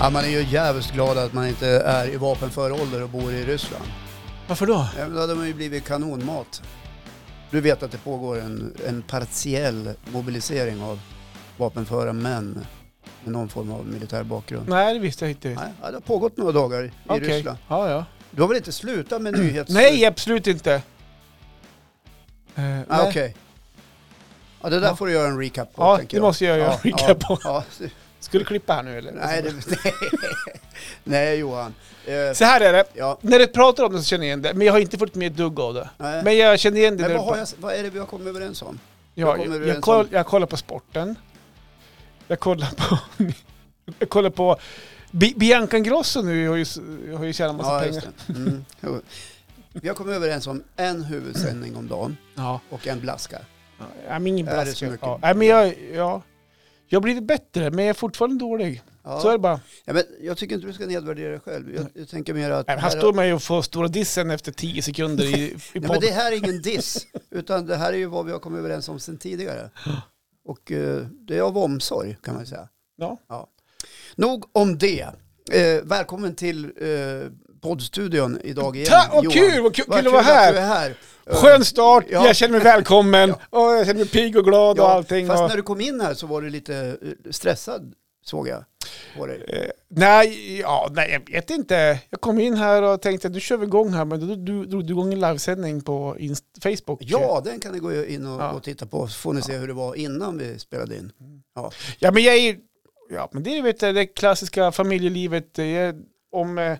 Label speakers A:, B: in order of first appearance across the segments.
A: Ja, man är ju jävligt glad att man inte är i vapenför ålder och bor i Ryssland.
B: Varför då?
A: Ja, men Då hade man ju blivit kanonmat. Du vet att det pågår en, en partiell mobilisering av vapenföra män med någon form av militär bakgrund.
B: Nej, det visste jag inte.
A: Nej, ja, det har pågått några dagar i
B: Okej.
A: Ryssland.
B: Ja, ja.
A: Du har väl inte slutat med nyhets...
B: Nej, absolut inte. Eh, nej.
A: Ah, Okej. Ja, det där
B: Ja.
A: får du göra en recap på,
B: Ja,
A: tänker
B: det
A: jag.
B: måste jag göra en recap på.
A: Ja, ja.
B: Ska du klippa här nu eller?
A: Nej, det, nej. nej, Johan. Eh,
B: Så här är det.
A: ja.
B: När du pratar om det så känner jag igen det, men jag har inte fått med ett dugg av det.
A: Nej.
B: Men jag känner igen det.
A: Men
B: när
A: vad,
B: du
A: har jag, vad är det vi har kommit överens om?
B: Ja,
A: kommer
B: jag,
A: du
B: jag,
A: ens
B: koll,
A: om-
B: jag kollar på sporten. Jag kollar på... jag kollar på... Bi Bianca Ingrosso nu har ju, s- har ju tjänat massa pengar.
A: just det. Mm. Jo. Vi har kommit överens om en huvudsändning om dagen
B: Ja.
A: och en blaska.
B: Ja, men ingen
A: Är det
B: brask.
A: så mycket?
B: Ja. Nej, men jag, ja. jag har blivit bättre, men jag är fortfarande dålig. Så är
A: Ja.
B: det bara.
A: Ja, men jag tycker inte du ska nedvärdera dig själv. Jag, jag tänker mer att...
B: Nej, men han står med och får stora dissen efter 10 sekunder i, i
A: Nej, men
B: podden.
A: det här är ingen diss, utan det här är ju vad vi har kommit överens om sedan tidigare. Och eh, det är av omsorg, kan man säga.
B: Ja.
A: Nog om det. Eh, välkommen till eh, poddstudion idag igen,
B: Ta, och
A: Johan.
B: kul, vad kul,
A: Vad
B: kul att vara
A: du är
B: här!
A: här. Eh,
B: Skön start,
A: Ja.
B: jag känner mig välkommen, och jag känner mig pigg och glad och allting.
A: Fast
B: och...
A: när du kom in här så var du lite eh, stressad, såg jag på dig.
B: Eh, nej, ja, nej, jag vet inte. Jag kom in här och tänkte att du kör vi igång här, men då du- drog du igång en livesändning på Inst- Facebook.
A: Ja, den kan ni gå in och,
B: Ja. Mm.
A: och titta på, så får ni se hur det var innan vi spelade in. Ja.
B: Ja, men jag är Ja, men det är vet du, det klassiska familjelivet. Eh, Jag, om eh,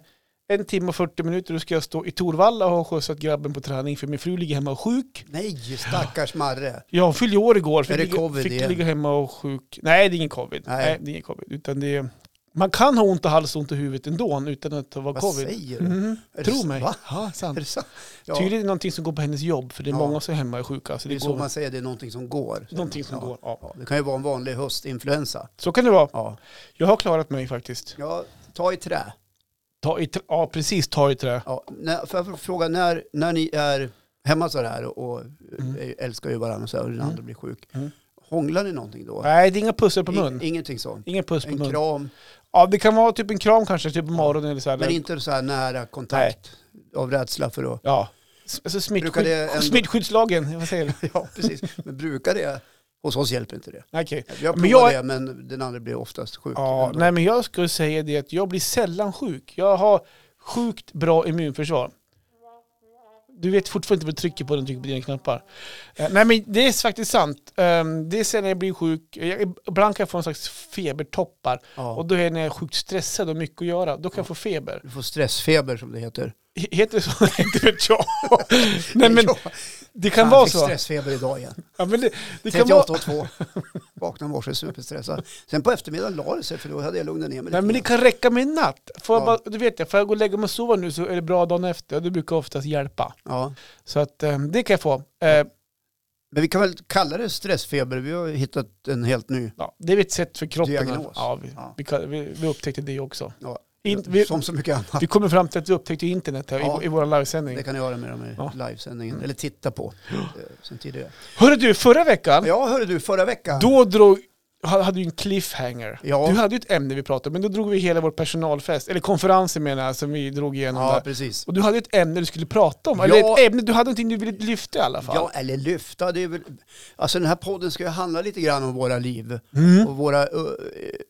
B: en timme och 40 minuter då ska jag stå i Torvalla och ha skjutsat grabben på träning för min fru ligger hemma och är sjuk.
A: Nej, stackars Marre.
B: Ja, hon fyllde år igår. Fick,
A: Är det
B: ligga-
A: covid
B: fick
A: igen?
B: ligga hemma och sjuk. Nej, det är ingen covid.
A: Nej.
B: Nej. det är ingen covid. Utan det är, man kan ha ont i halsen och ont i huvudet ändå utan att det var
A: Vad
B: covid.
A: säger du?
B: Mhm.
A: Är
B: Tro
A: det-
B: mig.
A: Va?
B: Ja, sant.
A: Är det sant? Ja,
B: Tydligen är det någonting som går på hennes jobb, för det är
A: Ja.
B: många som är hemma och är sjuka. Så
A: det
B: det
A: är så
B: går,
A: man säger, det är någonting som går.
B: någonting som
A: ja.
B: går. Ja.
A: Ja, det kan ju vara en vanlig höstinfluensa.
B: Så kan det vara.
A: Ja.
B: Jag har klarat mig faktiskt.
A: ja, ta i trä.
B: Ta i trä. Ja, precis. Ta i trä.
A: Ja, när, får jag fråga, när, när ni är hemma så här och, och
B: Mm.
A: eh, älskar ju varandra och så här, och den andra blir sjuk,
B: Mm.
A: hånglar ni någonting då?
B: Nej, det är inga pussar på mun.
A: I, ingenting sånt?
B: Ingen puss på
A: En
B: mun.
A: kram,
B: Ja, det kan vara typ en kram kanske, typ på morgonen eller så. Här,
A: men
B: eller-
A: inte så här nära kontakt av rädsla för att...
B: Ja. S- Alltså
A: Brukar
B: smittskydd,
A: det ändå-
B: smittskyddslagen, vad säger du?
A: Ja, precis. Men brukar det? Hos oss hjälper inte det.
B: Nej, Okej.
A: Jag
B: Men
A: provar
B: jag-
A: det, men den andra blir oftast sjuk.
B: Ja,
A: ändå.
B: nej men jag skulle säga det att jag blir sällan sjuk. Jag har sjukt bra immunförsvar. Du vet fortfarande inte vad du trycker på när du trycker på dina knappar. Eh, nej men det är faktiskt sant. Ehm, det är sällan jag blir sjuk. Jag, ibland kan jag få en slags febertoppar.
A: Ja.
B: Och då är det när jag är sjukt stressad och mycket att göra. Då kan jag få feber.
A: Du får stressfeber som det heter.
B: H- Heter det så? inte vet jag. nej men
A: Jag
B: det kan
A: fan,
B: vara
A: fick
B: så.
A: stressfeber idag igen.
B: Ja, men det, det kan vara...
A: 38,2. Vaknade i morse superstressad. Sen på eftermiddagen la det sig för då hade jag lugnat ner mig
B: Nej men det
A: grann.
B: kan räcka med en natt. Får jag
A: Ja.
B: bara, du vet jag, får jag gå och lägga mig och sova nu så är det bra dagen efter. Och det brukar oftast hjälpa.
A: ja.
B: Så att eh, det kan jag få. Eh,
A: Men vi kan väl kalla det stressfeber. Vi har hittat en helt ny.
B: ja, det är ett sätt för kroppen.
A: Diagnos.
B: Ja, vi,
A: Ja.
B: Vi, kan- vi, vi upptäckte det också.
A: Ja.
B: In, vi,
A: som så mycket annat.
B: vi kommer fram till att vi upptäckte internet här
A: Ja.
B: i, i vår livesändning.
A: Det kan ni göra med dem i
B: Ja.
A: livesändningen. Eller titta på eh, sen tidigare.
B: Hörru du, förra veckan,
A: Ja, hörde du, förra veckan.
B: då drog, ha- hade du en cliffhanger.
A: Ja.
B: Du hade ju ett ämne vi pratade om, men då drog vi hela vår personalfest, eller konferensen menar jag, som vi drog igenom
A: ja,
B: där.
A: precis.
B: Och du hade ett ämne du skulle prata om,
A: Ja.
B: eller ett ämne, du hade någonting du ville lyfta i alla fall.
A: Ja, eller lyfta. Det är väl, alltså den här podden ska ju handla lite grann om våra liv.
B: Mm.
A: Och våra, eh,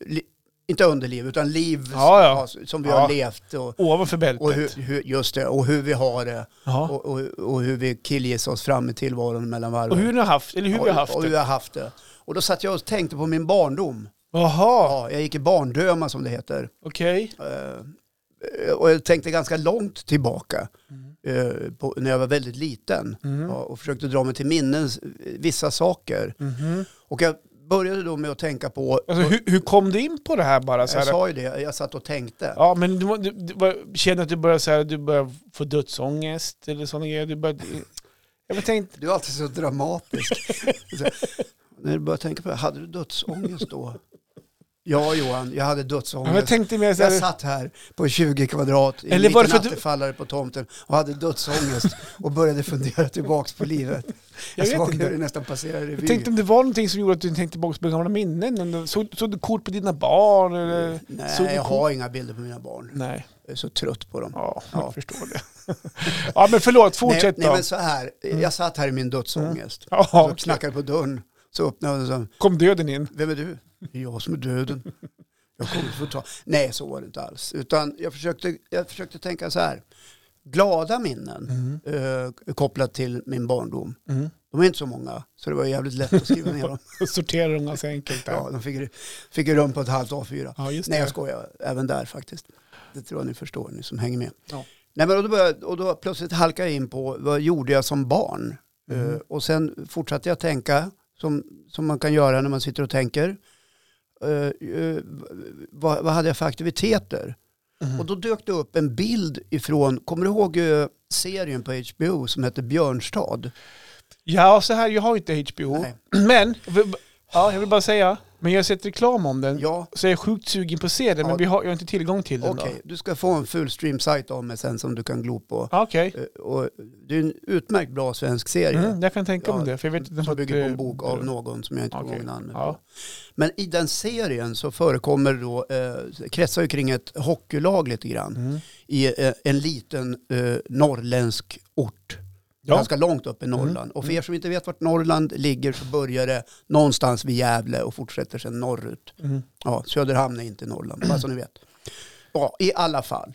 A: li, inte underliv, utan liv
B: Ja, ja.
A: som- som vi
B: Ja.
A: har levt. Och,
B: Ovanför bältet.
A: och hur, hur, just det, och hur vi har det.
B: Ja.
A: Och, och, och hur vi killgissar oss fram i tillvaron mellan varven.
B: Och hur ni har haft, eller hur vi har haft
A: och, och hur
B: det.
A: jag har haft det. Och då satt jag och tänkte på min barndom.
B: Jaha,
A: Ja, jag gick i barndöma som det heter.
B: okej.
A: Eh, Och jag tänkte ganska långt tillbaka
B: Mm.
A: eh, på, när jag var väldigt liten. Ja, och försökte dra mig till minnen eh, vissa saker. Och jag började då med att tänka på,
B: Mm-hmm. Alltså, hur, hur kom du in på det här bara? Så
A: jag
B: här,
A: sa ju det, jag satt och tänkte.
B: Ja, men du, du, du var- känner att du börjar, så här, du börjar få dödsångest eller sådana grejer. Du börjar, jag bara tänkte,
A: Du är alltid så dramatisk. Så, när du börjar tänka på det, hade du dödsångest då? Ja Johan, jag hade
B: Men jag
A: dödsångest.
B: tänkte mer så
A: Jag
B: här,
A: satt här på 20 kvadrat i en
B: Eller var det
A: liten
B: för att du-
A: attefallare på tomten och hade dödsångest och började fundera tillbaks på livet.
B: Jag
A: Jag,
B: vet
A: såg
B: inte.
A: hur det nästan passerade
B: jag
A: revy.
B: tänkte om det var någonting som gjorde att du tänkte tillbaka på gamla minnen. eller Såg, såg du kort på dina barn? Eller, såg
A: Nej,
B: du
A: jag
B: kort-
A: har inga bilder på mina barn.
B: Nej,
A: Jag är så trött på dem.
B: ja,
A: Ja.
B: jag förstår det. ja, men förlåt, fortsätt
A: nej, nej,
B: då. Mm.
A: men så här. Jag satt här i min dödsångest.
B: Ja,
A: Så
B: okej.
A: knackade på dörren. Så öppnade jag och sa,
B: Kom döden in?
A: vem är du? Det är jag som är döden. Jag kommer få ta... Nej, så var det inte alls. Utan jag försökte, jag försökte tänka så här. Glada minnen
B: Mm.
A: eh, kopplat till min barndom. De är inte så många, så det var jävligt lätt att skriva ner dem.
B: Sortera dem ganska enkelt. Där.
A: Ja,
B: Ja.
A: de fick, fick ju rum på ett halvt A4.
B: just
A: Nej, jag
B: det.
A: skojar. Även där faktiskt. Det tror jag ni förstår, ni som hänger med.
B: Ja.
A: Nej, men och, då började, och då plötsligt halkade jag in på vad gjorde jag som barn?
B: Mhm.
A: Eh, och sen fortsatte jag tänka, som, som man kan göra när man sitter och tänker. Eh, eh, vad, vad hade jag för aktiviteter?
B: Mhm.
A: Och då dök det upp en bild ifrån, kommer du ihåg eh, serien på HBO som hette Björnstad?
B: Ja, så här, jag har ju inte HBO.
A: Nej.
B: Men, ja, jag vill bara säga, men jag har sett reklam om den.
A: Ja,
B: Så jag är sjukt sugen på att se den,
A: Ja.
B: men vi har, jag har inte tillgång till den.
A: okej.
B: då.
A: Du ska få en full stream-sajt av mig sen som du kan glo på.
B: Ja, Ah, Okej,
A: Eh, Och det är en utmärkt bra svensk serie.
B: mm, jag kan tänka mig
A: Ja,
B: det. För jag vet att den
A: Som
B: fått,
A: bygger på en
B: eh,
A: bok av någon som jag inte kommer
B: Okej.
A: ihåg namnet på.
B: Ja.
A: Men i den serien så förekommer då, eh, kretsar ju kring ett hockeylag lite grann.
B: Mm.
A: I eh, en liten eh, norrländsk ort.
B: Ja. Mm.
A: Ganska långt upp i Norrland. Och för er som inte vet vart Norrland ligger så börjar det någonstans vid Gävle och fortsätter sedan norrut.
B: Mm.
A: Ja, Söderhamn är inte Norrland, bara så ni vet. Ja, i alla fall.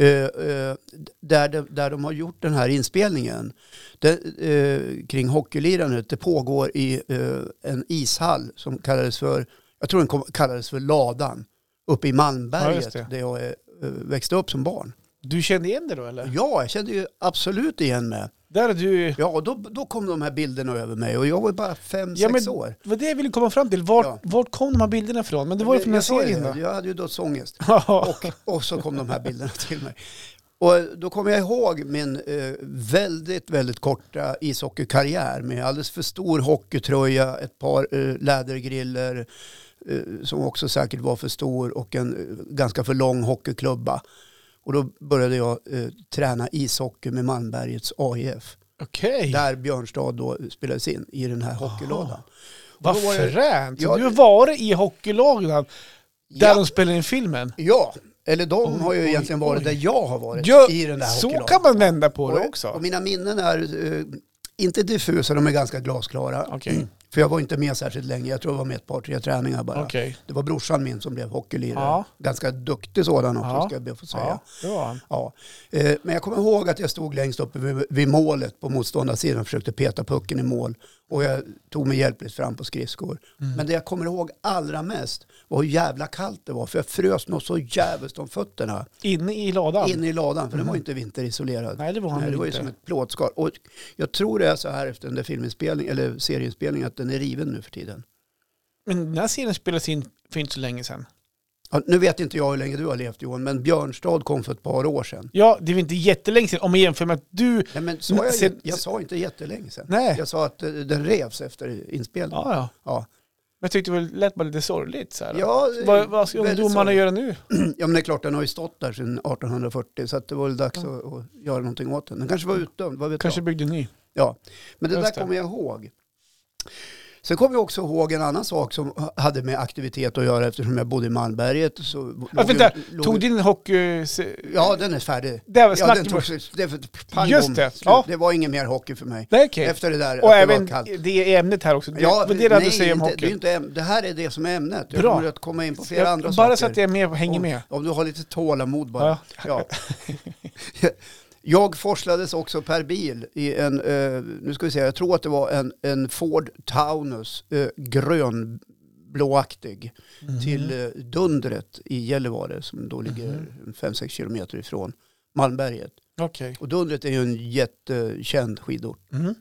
A: Eh, eh, där, de, där de har gjort den här inspelningen det, eh, kring hockeylirandet, det pågår i eh, en ishall som kallades för, jag tror den kom, kallades för Ladan, uppe i
B: Ja,
A: Malmberget
B: just det.
A: där jag eh, växte upp som barn.
B: Du kände igen det då eller?
A: Ja, jag kände ju absolut igen mig.
B: Där är du...
A: Ja, och då, då kom de här bilderna över mig och jag var ju bara fem,
B: Ja,
A: sex
B: men
A: år.
B: Vad det jag ville komma fram till, vart,
A: Ja.
B: vart kom de här bilderna ifrån? Men det var ju från den
A: Jag sa ju
B: serien
A: det,
B: då?
A: Jag hade ju dödsångest.
B: Ja.
A: Och så kom de här bilderna till mig. Och då kommer jag ihåg min eh, väldigt, väldigt korta ishockeykarriär med alldeles för stor hockeytröja, ett par eh, lädergriller eh, som också säkert var för stor och en eh, ganska för lång hockeyklubba. Och då började jag eh, träna ishockey med Malmbergets AIF.
B: Okej,
A: Där Björnstad då spelades in i den här hockeyladan.
B: vad
A: då var jag-
B: fränt! Så
A: Ja,
B: Du har varit i hockeylagen där
A: Ja.
B: de spelar in filmen?
A: Ja, eller de har ju
B: Oj, oj,
A: egentligen varit
B: oj.
A: där jag har varit
B: Ja,
A: i den där
B: så
A: hockeyladan.
B: kan man vända på det
A: Och-
B: också.
A: Och mina minnen är eh, inte diffusa, de är ganska glasklara.
B: Okej,
A: För jag var inte med särskilt länge, jag tror jag var med ett par, tre träningar bara.
B: okej.
A: Det var brorsan min som blev hockeylirare.
B: Ja.
A: Ganska duktig sådan också,
B: Ja.
A: ska jag be att få säga.
B: Ja,
A: Ja.
B: det var han.
A: Eh, Men jag kommer ihåg att jag stod längst uppe vid, vid målet på motståndarsidan och försökte peta pucken i mål. Och jag tog mig hjälpligt fram på skridskor.
B: Mm.
A: Men det jag kommer ihåg allra mest var hur jävla kallt det var. För jag frös något så jävligt om fötterna
B: Inne i ladan?
A: inne i ladan. För den
B: Mm.
A: var ju inte vinterisolerad.
B: Nej, det var han
A: Nej, det var ju
B: inte.
A: som ett plåtskal. Och jag tror det är så här efter den där filminspelningen, eller serieinspelningen, att den är riven nu för tiden.
B: Men den här serien spelades in för inte så länge sedan.
A: Ja, nu vet inte jag hur länge du har levt Johan, men Björnstad kom för ett par år sedan.
B: Ja, det är väl inte jättelänge sedan om man jämför med att du...
A: Nej, men sa
B: Men
A: jag,
B: sen-
A: jag sa inte jättelänge sedan.
B: Nej. Ja,
A: Jag sa att eh, den revs efter inspelningen.
B: ja.
A: Ja,
B: Men jag tyckte det lät bara lite sorgligt så här.
A: ja. eh,
B: Vad, vad ska
A: väldigt
B: ungdomarna
A: sorgligt.
B: göra nu?
A: Ja, men det är klart, den har ju stått där sedan 1840 så att det var väl dags att, att göra någonting åt den. Den kanske var utdömd, vad vet jag?
B: Kanske byggde en ny.
A: Ja, men det
B: Just
A: där
B: det.
A: kommer jag ihåg. Sen kommer jag också ihåg en annan sak som hade med aktivitet att göra eftersom jag bodde i Malmberget. Så
B: Ja,
A: låg-
B: vänta,
A: låg-
B: tog din hockey... se-
A: Ja, den är färdig.
B: Där var
A: Ja, den
B: snacket
A: tog, det, pang,
B: Just
A: bom,
B: det,
A: slut.
B: ja.
A: det var ingen mer hockey för mig.
B: Nej, okej.
A: Efter det där,
B: Och
A: att
B: även
A: det var kallt.
B: det är ämnet här också. Ja, det är det
A: nej,
B: du säger om
A: inte, det, är
B: hockey.
A: inte, äm- det här är det som är ämnet. Jag
B: Bra.
A: kommer att komma in på flera
B: Jag-
A: andra saker.
B: bara så att jag är med och hänger
A: Om-
B: med.
A: Om du har lite tålamod bara.
B: Ja.
A: Ja. Jag forslades också per bil i en, eh, nu ska vi se, jag tror att det var en, en Ford Taunus, eh, grönblåaktig,
B: Mm.
A: till eh, Dundret i Gällivare som då ligger 5-6 kilometer ifrån Malmberget.
B: Okej.
A: Och Dundret är ju en jättekänd skidort.
B: Mhm.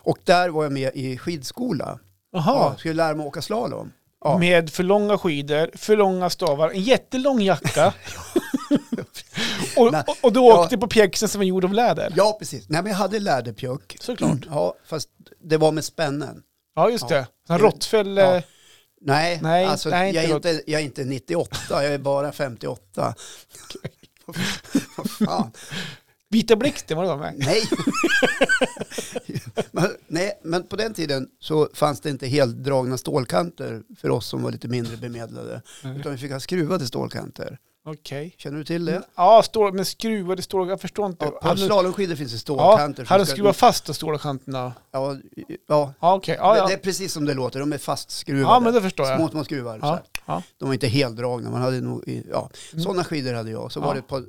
A: Och där var jag med i skidskola. Ja,
B: Jaha.
A: skulle lära mig åka slalom. Ja.
B: Med för långa skidor, för långa stavar, en jättelång jacka. och,
A: Nej.
B: och, och du
A: Ja.
B: åkte på pjäxen som var gjord av läder.
A: Ja, precis. Nej, men jag hade läderpjök.
B: Såklart.
A: Ja, fast det var med spännen.
B: Ja, just
A: Ja.
B: det. En råttfäll...
A: Ja. Nej,
B: Nej,
A: alltså,
B: nej,
A: jag, är
B: inte
A: inte, jag är inte 98, jag är bara 58. Vad fan?
B: Vita Blixten var det de med.
A: Nej. men, nej, men på den tiden så fanns det inte heldragna stålkanter för oss som var lite mindre bemedlade.
B: Nej.
A: Utan vi fick ha skruvade stålkanter.
B: Okej.
A: Känner du till det?
B: Mm. Ja, stål, men skruvade stål, jag förstår inte.
A: Ja, på
B: Hade-
A: slalomskidor finns det
B: Ja,
A: stålkanter. som
B: hade de
A: ska-
B: skruvat fast de stora kanterna?
A: Ja, ja.
B: Ja, okej. Ja,
A: Det
B: ja.
A: är precis som det låter, de är fastskruvade.
B: ja, men det förstår jag.
A: Små, små skruvar. Så
B: Ja,
A: här.
B: ja.
A: De var inte heldragna. Man hade nog, i- ja.
B: Mm.
A: Sådana skidor hade jag. Så
B: Ja.
A: var det ett par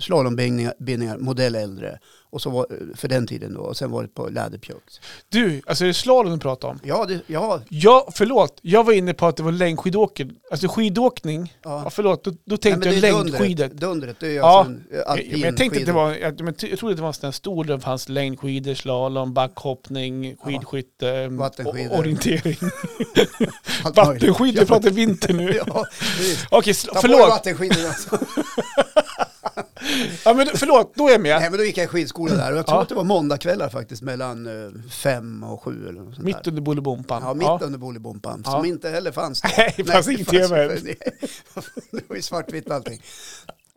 A: slalombindningar, bindningar, modell äldre. Och så var, för den tiden då. Och sen var det ett par läderpjucks.
B: Du, alltså är det slalom du pratar om?
A: Ja, det, ja,
B: Ja, förlåt. Jag var inne på att det var längdskidåkning. Alltså skidåkning. Ja,
A: ja.
B: förlåt. Då, då
A: Nej,
B: tänkte
A: men
B: jag
A: det är
B: längdskidor.
A: Dundret, dundret det är ju
B: Ja.
A: alltså en eh,
B: Jag,
A: alpin
B: jag tänkte att det
A: skidor.
B: var, jag, men ty- jag trodde att det var en sån här stor där det fanns längdskidor, slalom, backhoppning, skidskytte, ehm,
A: Vattenskidor.
B: o- orientering.
A: Allt möjligt.
B: Vattenskidor, jag pratar vinter nu.
A: Ja, precis.
B: Okej, sl-
A: Ta bort
B: förlåt.
A: vattenskidorna. Alltså.
B: Ja, men, förlåt, då är jag med.
A: Nej, men då gick jag i skidskola där och jag tror
B: Ja.
A: att det var måndagkvällar faktiskt mellan eh, fem och sju eller något sånt
B: Mitt
A: där.
B: under Bolibompan.
A: Ja, mitt under Bolibompan,
B: Ja.
A: som inte heller fanns då.
B: Nej, det fanns
A: Nej,
B: inget tv.
A: fanns- Det var ju svartvitt allting.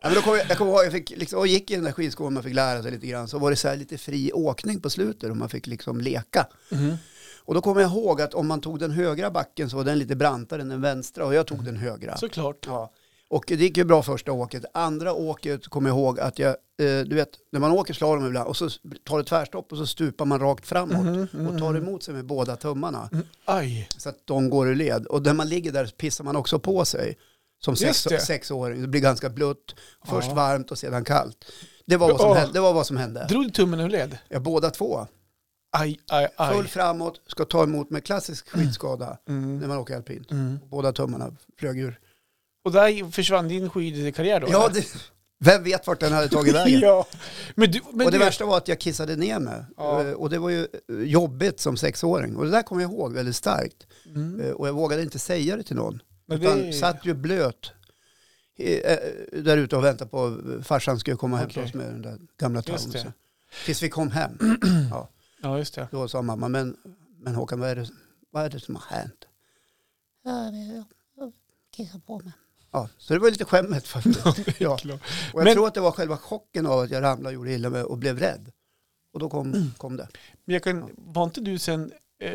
A: Ja, men då kom jag, jag kommer ihåg, jag fick liksom, och gick i den där skidskolan, man fick lära sig lite grann, så var det så här lite fri åkning på slutet och man fick liksom leka.
B: Mhm.
A: Och då kommer jag ihåg att om man tog den högra backen så var den lite brantare än den vänstra och jag
B: Mhm.
A: tog den högra.
B: Såklart.
A: Ja. Och det gick ju bra första åket. Andra åket kommer jag ihåg att jag, eh, du vet, när man åker slalom ibland och så tar det tvärstopp och så stupar man rakt framåt
B: Mhm,
A: och tar emot sig med båda tummarna
B: Aj.
A: så att de går ur led. Och när man ligger där så pissar man också på sig som sex,
B: Just det.
A: sexåring. Det blir ganska blött, först
B: Ja.
A: varmt och sedan kallt. Det var vad som
B: Åh.
A: hände. Det var vad som hände.
B: Drog du tummen ur led?
A: Ja, båda två.
B: Aj, aj,
A: Full
B: aj.
A: framåt, ska ta emot med klassisk skidskada
B: Mm.
A: när man åker alpint.
B: Mm.
A: Båda tummarna flög ur.
B: Och där försvann din skidkarriär då?
A: Ja,
B: eller?
A: det, vem vet vart den hade tagit vägen?
B: ja. Men du, men
A: och det
B: du,
A: värsta var att jag kissade ner mig.
B: Ja.
A: Eh, Och det var ju eh, jobbigt som sexåring. Och det där kommer jag ihåg väldigt starkt.
B: Mm.
A: Eh, Och jag vågade inte säga det till någon.
B: Men
A: Utan
B: det-
A: satt ju blöt eh, eh, där ute och väntade på att farsan skulle komma hem till
B: Okej.
A: oss med den där gamla
B: Just det.
A: termosen. Tills vi kom hem.
B: Ja, just det.
A: Då sa mamma, men, men Håkan, vad är, det, vad är det som har hänt?
C: Ja, det- jag kissar på mig.
A: Ja, så det var lite skämmet faktiskt. ja.
B: klart.
A: Och jag
B: Men-
A: tror att det var själva chocken av att jag ramlade och gjorde illa mig och blev rädd. Och då
B: Mm.
A: kom, kom det.
B: Men jag kan, var inte du sen, eh,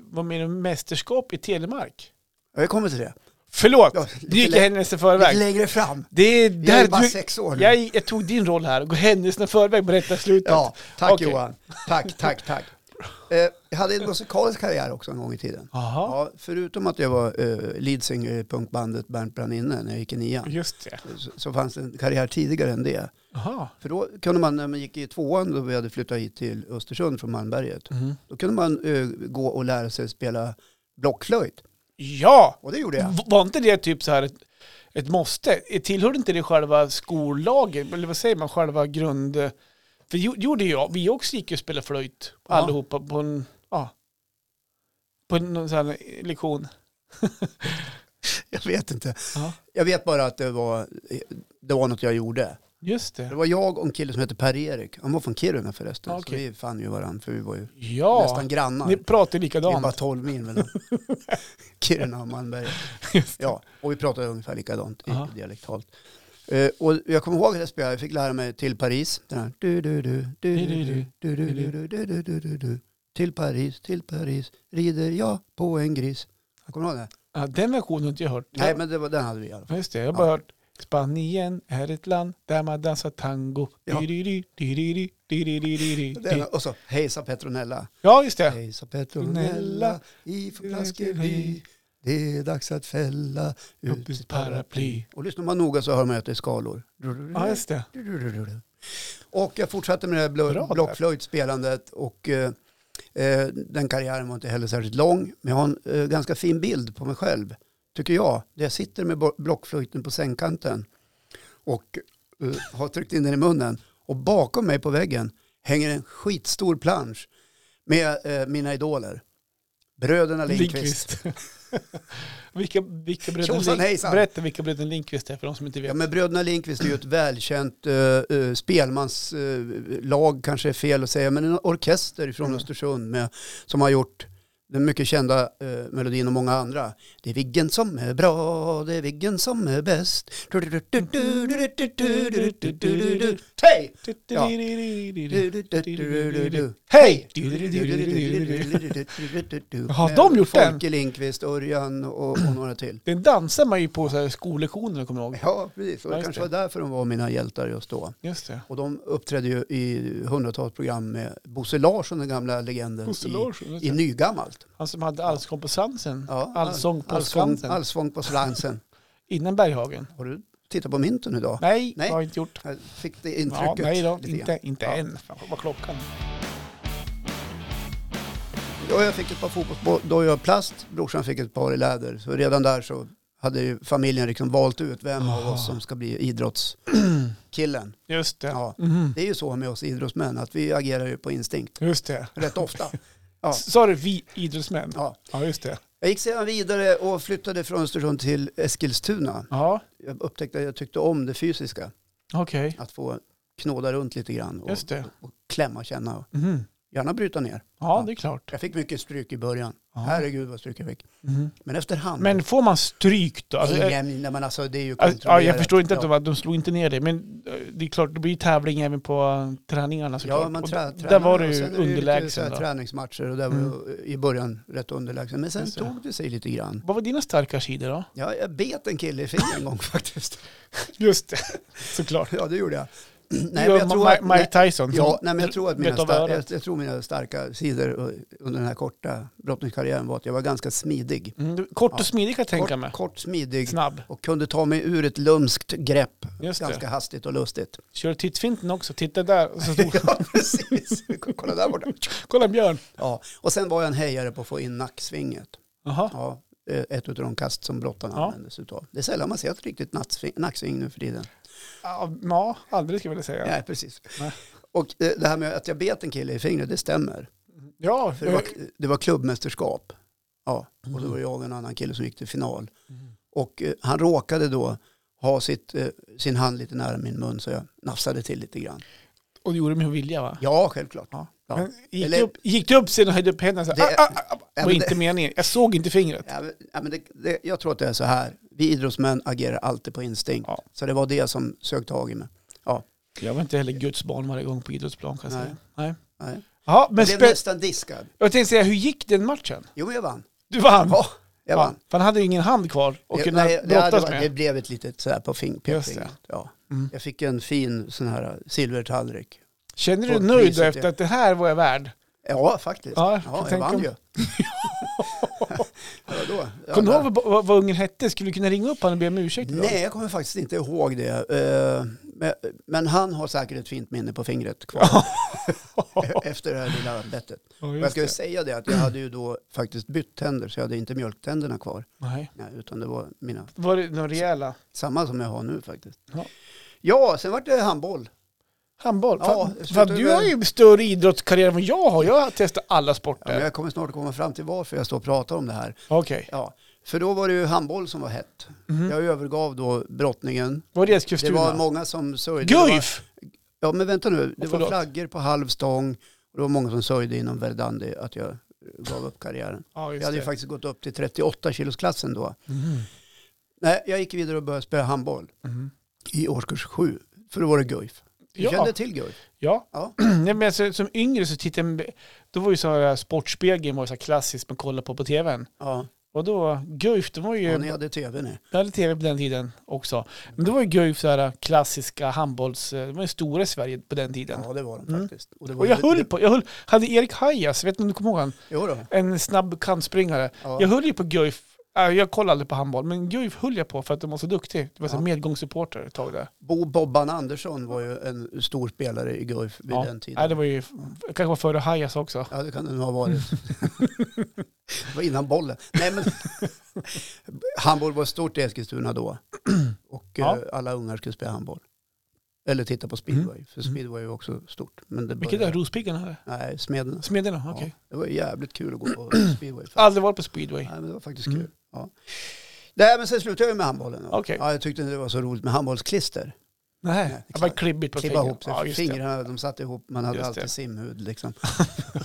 B: var med i en mästerskap i telemark?
A: Ja, Jag kommer till det.
B: Förlåt,
A: Ja,
B: nu gick jag händelsen
A: lite
B: förväg.
A: längre fram.
B: Det är
A: Jag är
B: där
A: bara
B: du,
A: sex år nu.
B: jag, jag tog din roll här, gå händelserna förväg, berätta slutet.
A: Ja, tack
B: Okej.
A: Johan. Tack, tack, tack. Eh, jag hade en musikalisk karriär också en gång i tiden.
B: Jaha,
A: Ja, förutom att jag var eh, leadsinger i punkbandet Bernt brann inne när jag gick i nian
B: just det.
A: så, så fanns det en karriär tidigare än det.
B: Jaha.
A: För då kunde man, när man gick i tvåan då vi hade flyttat hit till Östersund från Malmberget,
B: Mhm.
A: då kunde man eh, gå och lära sig spela blockflöjt.
B: Ja,
A: Och det gjorde jag.
B: V- var inte det typ så här ett, ett måste? Tillhörde inte det själva skollagen, eller vad säger man, själva grund... För jo- gjorde jag, vi också gick ju och spelade flöjt,
A: Ja.
B: allihopa på en, ja, på en- någon sån här lektion.
A: Jag vet inte.
B: Ja.
A: Jag vet bara att det var, eh, det var något jag gjorde.
B: Just
A: Det
B: det.
A: var jag och en kille som hette Per-Erik. Han var från Kiruna förresten.
B: Ah,
A: Så
B: okej.
A: vi fann ju varandra för vi var ju
B: Ja,
A: nästan grannar.
B: ni pratar
A: Det är bara
B: likadant.
A: 12 mil mellan Kiruna och Malmberget.
B: Just det.
A: Ja, och vi pratade ungefär likadant i
B: Aha.
A: dialektalt. Eh, och jag kommer ihåg att jag spelade, jag fick lära mig till Paris. Den här, du, du, du, du, du, du, du, du, du, du, du, du, du, du, du. Till Paris, till Paris, rider jag på en gris. Kommer du ihåg det?
B: Ja, den versionen har inte jag hört.
A: Nej, men det var, den hade vi i alla fall.
B: Ja, Just det, jag har bara hört Spanien är ett land där man dansar tango.
A: Ja.
B: Di-di-di, di-di-di, di-di-di-di-di.
A: Den, och så, hejsa Petronella.
B: Ja, just det.
A: Hejsa Petronella, i för flaskeri. Det är dags att fälla
B: Upp
A: ut
B: ditt
A: sitt paraply.
B: paraply.
A: Och lyssnar man noga så hör man att det är skalor. Mm.
B: Ja, just det.
A: Och jag fortsatte med det här
B: Bra
A: bl-
B: där.
A: blockflöjtspelandet och eh, eh, den karriären var inte heller särskilt lång. Men jag har en eh, ganska fin bild på mig själv, tycker jag. Där jag sitter med bo- blockflöjten på sängkanten och eh, har tryckt in den i munnen. Och bakom mig på väggen hänger en skitstor plansch med eh, mina idoler. Bröderna Lindqvist.
B: Lindqvist. vilka, vilka bröderna
A: Tjosan,
B: Lindqvist?
A: hejsan.
B: Berätta vilka bröderna Lindqvist är för de som inte vet.
A: Ja, men Bröderna Lindqvist är ju ett välkänt eh, eh,
B: Mm.
A: spelmanslag, kanske är fel att säga, men en orkester från Östersund med, som har gjort den mycket kända eh, melodin och många andra. Det är Viggen som är bra, det är Viggen som är bäst. Hej! Ja. Hej!
B: Har de gjort den? Mm.
A: Folke Lindqvist, Örjan och, och några till.
B: Den dansar man ju på så här skollektionerna, kommer jag ihåg.
A: Ja, precis. Och
B: Ja,
A: det
B: just
A: kanske
B: det.
A: var därför de var mina hjältar just då.
B: Just det.
A: Och de uppträdde ju i hundratals program med Bosse Larsson, den gamla legenden,
B: Bosse
A: i,
B: Larsson. just
A: i
B: det.
A: nygammalt.
B: Han som hade Allsång på Skansen.
A: Ja,
B: Allsång på
A: allsång,
B: Skansen.
A: allsång på Slansen.
B: Innan Berghagen.
A: Har du tittat på mynten idag?
B: Nej, det
A: Nej.
B: har jag inte gjort.
A: Jag fick det
B: Ja,
A: intrycket.
B: nej då,
A: lite grann.
B: inte, inte
A: Ja.
B: än. Fan, vad klockan.
A: Ja, jag fick ett par fotbollsdojor av plast, brorsan fick ett par i läder. Så redan där så hade ju familjen liksom valt ut vem av oss som ska bli idrottskillen.
B: Just det.
A: Ja.
B: Mhm.
A: Det är ju så med oss idrottsmän, att vi agerar ju på instinkt
B: Just det.
A: rätt ofta. Ja.
B: Sa du vi idrottsmän?
A: Ja.
B: Ja, just det.
A: Jag gick sedan vidare och flyttade från Östersund till Eskilstuna.
B: Ja,
A: Jag upptäckte att jag tyckte om det fysiska,
B: okej.
A: att få knåda runt lite grann och,
B: Just det.
A: och klämma, känna och
B: Mhm.
A: gärna bryta ner.
B: Ja, det är klart.
A: Jag fick mycket stryk i början.
B: Ja.
A: Herregud vad stryk jag fick.
B: Mhm.
A: Men efterhand.
B: Men får man stryk då? Alltså,
A: Nej,
B: eh,
A: nej, men alltså det är ju
B: alltså, ja, jag
A: kontrollerat.
B: förstår inte att de, var- de slog inte ner dig, men eh, det är klart, det blir ju tävling även på eh, träningarna såklart.
A: Ja, man
B: Och
A: trä,
B: d-
A: tränar
B: där var
A: och
B: du
A: sen
B: ju
A: är det lite så
B: underlägsen.
A: här
B: Då. Mm.
A: Träningsmatcher och där var jag i början rätt underlägsen. Men sen
B: Just det.
A: tog det sig lite grann.
B: Vad var dina starka sidor då?
A: Ja, jag bet en kille i fingret en gång faktiskt.
B: Just det, såklart.
A: Ja, det gjorde jag. Nej,
B: Nej, jag tror att, Mike Tyson.
A: Ja,
B: som-
A: nej, men jag tror att mina,
B: vet av
A: star- jag,
B: örat.
A: jag tror mina starka sidor eh, under den här korta brottningskarriären var att jag var ganska smidig.
B: Mm, du- kort och
A: Ja.
B: smidig kan jag tänka mig.
A: Kort, kort smidig
B: Snabb.
A: och kunde ta mig ur ett lumskt grepp
B: Just det.
A: ganska hastigt och lustigt.
B: Kör tittfinten också. Titta där. Så stod,
A: Ja, precis. Kolla där borta.
B: kolla Björn.
A: Ja, och sen var jag en hejare på att få in nacksvinget.
B: Jaha.
A: Ja, eh, ett av de kast som brottarna
B: Ja.
A: användes utav. Det är sällan man ser ett riktigt nattsving- nacksving nu för tiden.
B: Ja, ja, aldrig skulle jag vilja säga.
A: Nej, precis.
B: Nej.
A: Och eh, det här med att jag bet en kille i fingret, det stämmer.
B: Ja,
A: För det, var, det var klubbmästerskap. Ja, och
B: Mm.
A: då var jag och en annan kille som gick till final. Och eh, han råkade då ha sitt, eh, sin hand lite nära min mun så jag nafsade till lite grann.
B: och det gjorde med vilja va?
A: Ja, självklart.
B: Ja.
A: Ja.
B: Men gick,
A: Eller-
B: du upp, gick du upp sen och höjde upp händerna så här,
A: Det-
B: ah, ah, ah,
A: Ja,
B: var
A: men
B: inte
A: det-
B: meningen. Jag såg inte fingret.
A: Ja, men- ja, men det, det, jag tror att det är så här. Vi idrottsmän agerar alltid på instinkt.
B: Ja.
A: Så det var det som sög tag i mig. Ja,
B: Jag var inte heller Guds barn varje gång på idrottsplan kan jag
A: Nej.
B: säga. Nej.
A: nej.
B: Ja, men
A: Jag blev
B: spe-
A: nästan diskad.
B: jag tänkte säga, hur gick den matchen?
A: Jo, men jag vann.
B: Du vann.
A: Ja, jag
B: Ja,
A: vann.
B: för han hade ju ingen hand kvar att
A: Jag-
B: kunna
A: nej, det,
B: brottas
A: det, var- det
B: med.
A: blev ett litet sådär på fing,
B: Just
A: pekfingret. Ja.
B: Mm.
A: Jag fick en fin sån här silvertallrik.
B: Känner du dig
A: Och
B: nöjd då
A: priset,
B: efter
A: ja.
B: att det här var jag värd?
A: Ja, faktiskt.
B: Ja,
A: Ja,
B: jag
A: jag
B: tänker
A: vann
B: om-
A: ju. Vadå? Ja,
B: Kommer du
A: men-
B: ihåg vad, vad, vad ungen hette? Skulle du kunna ringa upp honom och be om ursäkt? då?
A: Nej, jag kommer faktiskt inte ihåg det. Eh, men- Men han har säkert ett fint minne på fingret kvar e-, efter det här lilla bettet.
B: Ja,
A: Och
B: just
A: Jag ska ju
B: det.
A: säga det att jag hade ju då faktiskt bytt tänder så jag hade inte mjölktänderna kvar.
B: Nej.
A: Nej, utan det var mina,
B: Var det några rejäla?
A: samma som jag har nu faktiskt.
B: Ja.
A: Ja, sen vart det handboll.
B: Handboll?
A: Ja,
B: Fan,
A: jag
B: fan,
A: slutade
B: du
A: med-
B: har ju större idrottskarriär än vad jag har. Jag har testat alla
A: Ja, men
B: sporter.
A: jag kommer snart att komma fram till varför jag står och pratar om det här.
B: Okej.
A: Ja, för då var det ju handboll som var hett.
B: Mhm.
A: Jag övergav då brottningen.
B: Var det
A: Det var
B: Eskilstuna?
A: många som sörjde. Det var-
B: Guif!
A: Ja, men vänta nu.
B: Åh,
A: Det var
B: förlåt.
A: flaggor på halv stång och det var många som sörjde inom Verdandi att jag gav upp karriären.
B: Ja,
A: Jag hade ju
B: just det.
A: faktiskt gått upp till 38 kilosklassen då.
B: Mhm.
A: Nej, jag gick vidare och började spela handboll
B: Mhm.
A: i årskurs sju. För då var det Guif. Mm. Du kände
B: Ja,
A: till Guif?
B: ja.
A: Ja.
B: Nej, men alltså, som yngre så tittade jag, då var ju så här, Sportspegeln var ju så här klassiskt man kollade på på tvn.
A: Ja,
B: Och då, Guif, det var ju,
A: och ni hade tv ni.
B: jag hade tv på den tiden också. Men då var ju Guif så här klassiska handbolls, de var ju stora i Sverige på den tiden.
A: Ja, det var de
B: Mm.
A: faktiskt. det var
B: Och
A: ju-
B: jag höll på, jag höll, hade Erik Hajas, vet inte om du kommer ihåg han?
A: Jo då.
B: En snabb kantspringare.
A: Ja.
B: Jag höll ju på Guif, äh, jag kollade aldrig på handboll, men Guif höll jag på för att de var så duktiga. Det var så här
A: Ja.
B: medgångssupporter ett tag där.
A: Bo Bobban Andersson var ju en stor spelare i Guif vid
B: Ja.
A: den
B: Nej,
A: tiden.
B: det var ju, kanske var före Hajas också.
A: Ja, det kan det nog ha varit. det var innan bollen. Nej, men handboll var stort i Eskilstuna då. Och
B: Ja.
A: eh, alla ungar skulle spela handboll. Eller titta på speedway, för speedway var också stort. Men det
B: Mm. Vilket
A: började-
B: är Rospiggarna? eller?
A: Nej, Smederna.
B: Smederna? Okej.
A: Ja, det var jävligt kul att gå på speedway.
B: Aldrig varit på speedway.
A: Nej, men det var faktiskt
B: Mm.
A: kul. Ja. Nej, men sen slutade jag ju med handbollen. då.
B: Okej.
A: Ja, jag tyckte det var så roligt med handbollsklister.
B: Nej,
A: Nej,
B: det var klibbigt på
A: klibba
B: fingrarna.
A: ihop sig.
B: Ja, just det.
A: Fingrarna, de satt ihop, man hade
B: Just
A: alltid
B: det.
A: simhud liksom.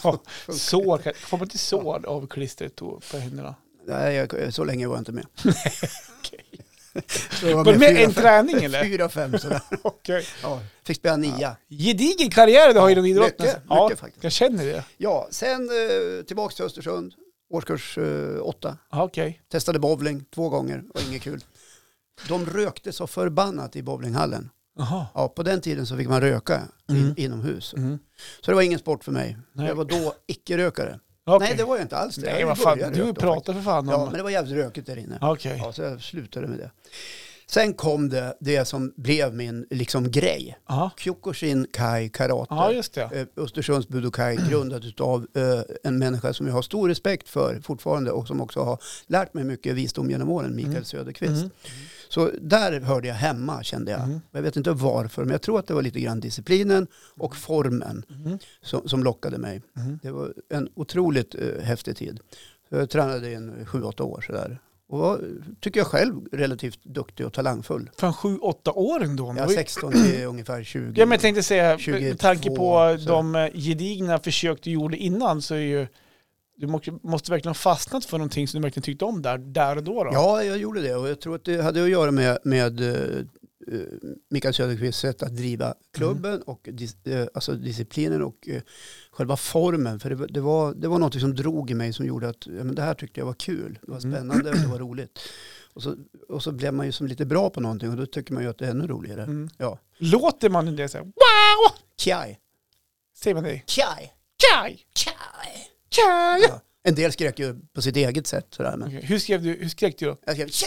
B: Ja, Sår, kan- får man inte sår av klistret på på händerna?
A: Nej, jag, så länge var jag inte med.
B: okej.
A: Jag var
B: Var du med
A: fyra,
B: en
A: fem-
B: träning eller?
A: Fyra, fem sådär.
B: Okej.
A: Ja, fick spela nia.
B: Gedigen karriär du har inom idrotten.
A: mycket,
B: alltså. ja,
A: mycket faktiskt.
B: Jag känner det.
A: Ja, sen eh, tillbaka till Östersund, årskurs eh, åtta.
B: Ja, Okej.
A: Testade bowling två gånger, var inget kul. De rökte så förbannat i bowlinghallen.
B: Jaha.
A: Ja, på den tiden så fick man röka
B: Mm.
A: in, inomhus.
B: Mm.
A: Så det var ingen sport för mig.
B: Nej.
A: Jag var då icke-rökare.
B: Okej.
A: Nej, det var jag inte alls det.
B: Nej,
A: Jag
B: vad fan.
A: började
B: Du
A: röka då
B: pratar för fan om...
A: Ja, men det var jävligt rökigt där inne.
B: Okej.
A: Ja, så jag slutade med det. Sen kom det, det som blev min liksom, grej.
B: Ja.
A: Kyokushin Kai Karate.
B: ja, just det.
A: Eh, Östersunds Budokai grundat av eh, en människa som jag har stor respekt för fortfarande och som också har lärt mig mycket visdom genom åren, Mikael
B: Mm.
A: Söderqvist.
B: Mm.
A: Så där hörde jag hemma kände jag.
B: Mm.
A: Jag vet inte varför, men jag tror att det var lite grann disciplinen och formen
B: Mm.
A: som, som lockade mig.
B: Mm.
A: Det var en otroligt eh, häftig tid. Så jag tränade i en 7-8 år sådär. Och var, tycker jag själv, relativt duktig och talangfull.
B: Fan, sju, åtta år ändå.
A: Jag är 16 till ungefär 20.
B: Ja, men jag tänkte säga,
A: 22,
B: med tanke på
A: så.
B: de eh, gedigna försök du gjorde innan så är ju, du må- måste verkligen ha fastnat för någonting som du verkligen tyckte om där, där och då. då.
A: Ja, jag gjorde det och jag tror att det hade att göra med, med eh, eh, Mikael Söderqvists sätt att driva klubben
B: Mm.
A: och dis, eh, alltså disciplinen och eh, själva formen. För det, var- det, var, det var något som drog i mig som gjorde att ja, men det här tyckte jag var kul. Det var
B: Mm.
A: spännande och det var roligt. Och så, och så blev man ju som lite bra på någonting och då tycker man ju att det är ännu roligare.
B: Mm.
A: Ja.
B: Låter man det så här,
A: Kjaj,
B: säger man det?
A: kjaj,
B: Kaj!
A: kjaj.
B: Kaj!
A: Ja. En del skrek ju på sitt eget sätt sådär, men
B: Okej, Hur skrev du, hur skrek du då?
A: jag skrev tja,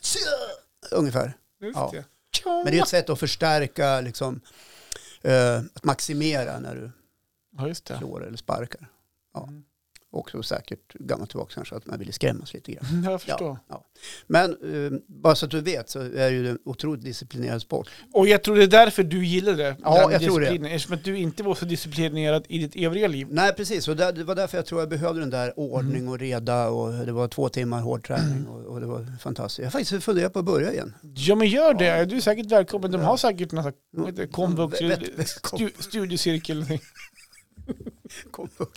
A: tja, ungefär.
B: Just
A: Ja.
B: det.
A: Men det är ett sätt att förstärka, liksom, eh, att maximera när du
B: Ja, just det.
A: slår eller sparkar. Ja.
B: Mm.
A: Också säkert gammalt tillbaka kanske att man ville skrämmas lite grann.
B: Ja, Jag förstår.
A: Men eh, bara så att du vet så är ju det en otroligt disciplinerad sport.
B: Och jag tror det är därför du gillar det.
A: Ja,
B: det här med
A: jag tror det.
B: disciplinen, Eftersom att du inte var så disciplinerad i ditt övriga liv.
A: Nej, precis. Och där, det var därför jag tror jag behövde den där ordning och reda och det var två timmar hård träning och, och det var fantastiskt. Jag har faktiskt funderat på att börja igen.
B: Ja men gör det, du är säkert välkommen. De har säkert någon sån här-
A: Mm.
B: vad heter det, komvux,
A: Vet- vet-
B: stu, studiecirkel.
A: Kom upp.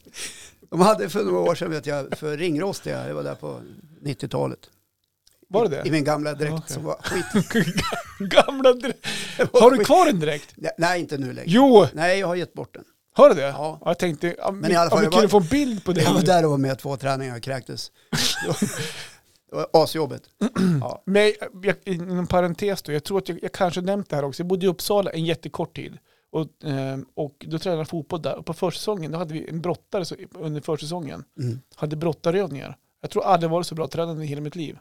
A: De hade för några år sedan, vet jag, för ringrostiga, jag var där på 90-talet.
B: Var det
A: I
B: det?
A: min gamla dräkt
B: Okej.
A: som var skit.
B: Gamla dräkt. Har du kvar en direkt?
A: Nej, Nej, inte nu längre.
B: Jo,
A: Nej, jag har gett bort den.
B: har du det?
A: Ja.
B: Jag tänkte, ja, men
A: i alla fall,
B: ja,
A: jag
B: kan
A: var-
B: du få en bild på det?
A: Jag var där och var med två träningar och kräktes. Det var- det var asjobbigt. Ja.
B: Men jag, inom parentes då, jag tror att jag, jag kanske nämnt det här också. Jag bodde i Uppsala en jättekort tid. Och, ehm, och då tränade jag fotboll där. Och på försäsongen, då hade vi en brottare så, under försäsongen.
A: Mm.
B: Hade brottarövningar. Jag tror aldrig varit så bra tränad i hela mitt liv.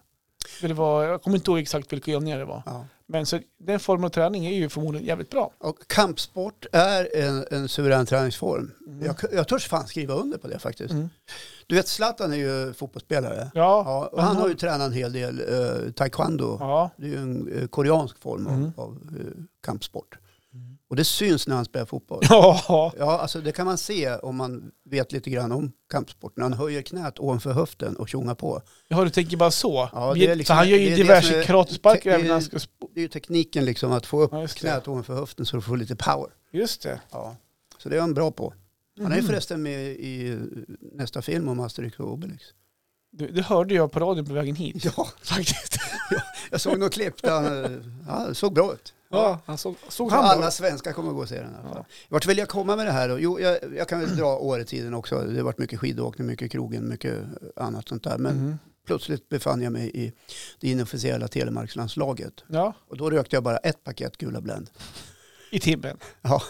B: För Det var, jag kommer inte ihåg exakt vilka övningar det var.
A: Ja.
B: Men så, den formen av träning är ju förmodligen jävligt bra.
A: Och kampsport är en, en suverän träningsform. Jag, jag törs fan skriva under på det faktiskt.
B: Mm.
A: Du vet, Zlatan är ju fotbollsspelare.
B: Ja.
A: Ja, och han
B: Aha.
A: har ju tränat en hel del eh, taekwondo.
B: ja.
A: Det är ju en eh, koreansk form av,
B: Mm.
A: av eh, kampsport. Och det syns när han spelar fotboll.
B: Ja.
A: Ja, alltså det kan man se om man vet lite grann om kampsporten. Han höjer knät ovanför höften och tjongar på.
B: ja, du tänker bara så.
A: Ja, det är
B: Vi-
A: liksom-
B: för han gör
A: det
B: ju
A: är det som
B: diverse
A: är- det
B: karatesparkar
A: är-
B: även när han ska... sp-
A: Det är ju tekniken liksom att få upp
B: Ja, just det.
A: knät ovanför höften så du får lite power.
B: Just det.
A: Ja. Så det är han bra på. Han är ju
B: Mhm.
A: förresten med i eh, nästa film om Asterix och Obelix.
B: Det, det hörde jag på radion på vägen hit.
A: Ja,
B: Faktiskt.
A: jag såg något klipp där han eh, ja, det såg bra ut.
B: Ja, han såg, såg
A: Så
B: han
A: alla
B: bra?
A: svenskar kommer att gå och se den. i alla fall.
B: Ja.
A: Vart vill jag komma med det här då? Jo, jag, jag kan väl dra åretiden också. Det har varit mycket skidåkning, mycket krogen, mycket annat sånt där. Men
B: Mhm.
A: plötsligt befann jag mig i det inofficiella telemarkslandslaget.
B: Ja,
A: Och då rökte jag bara ett paket Gula Blend.
B: i timmen.
A: Ja.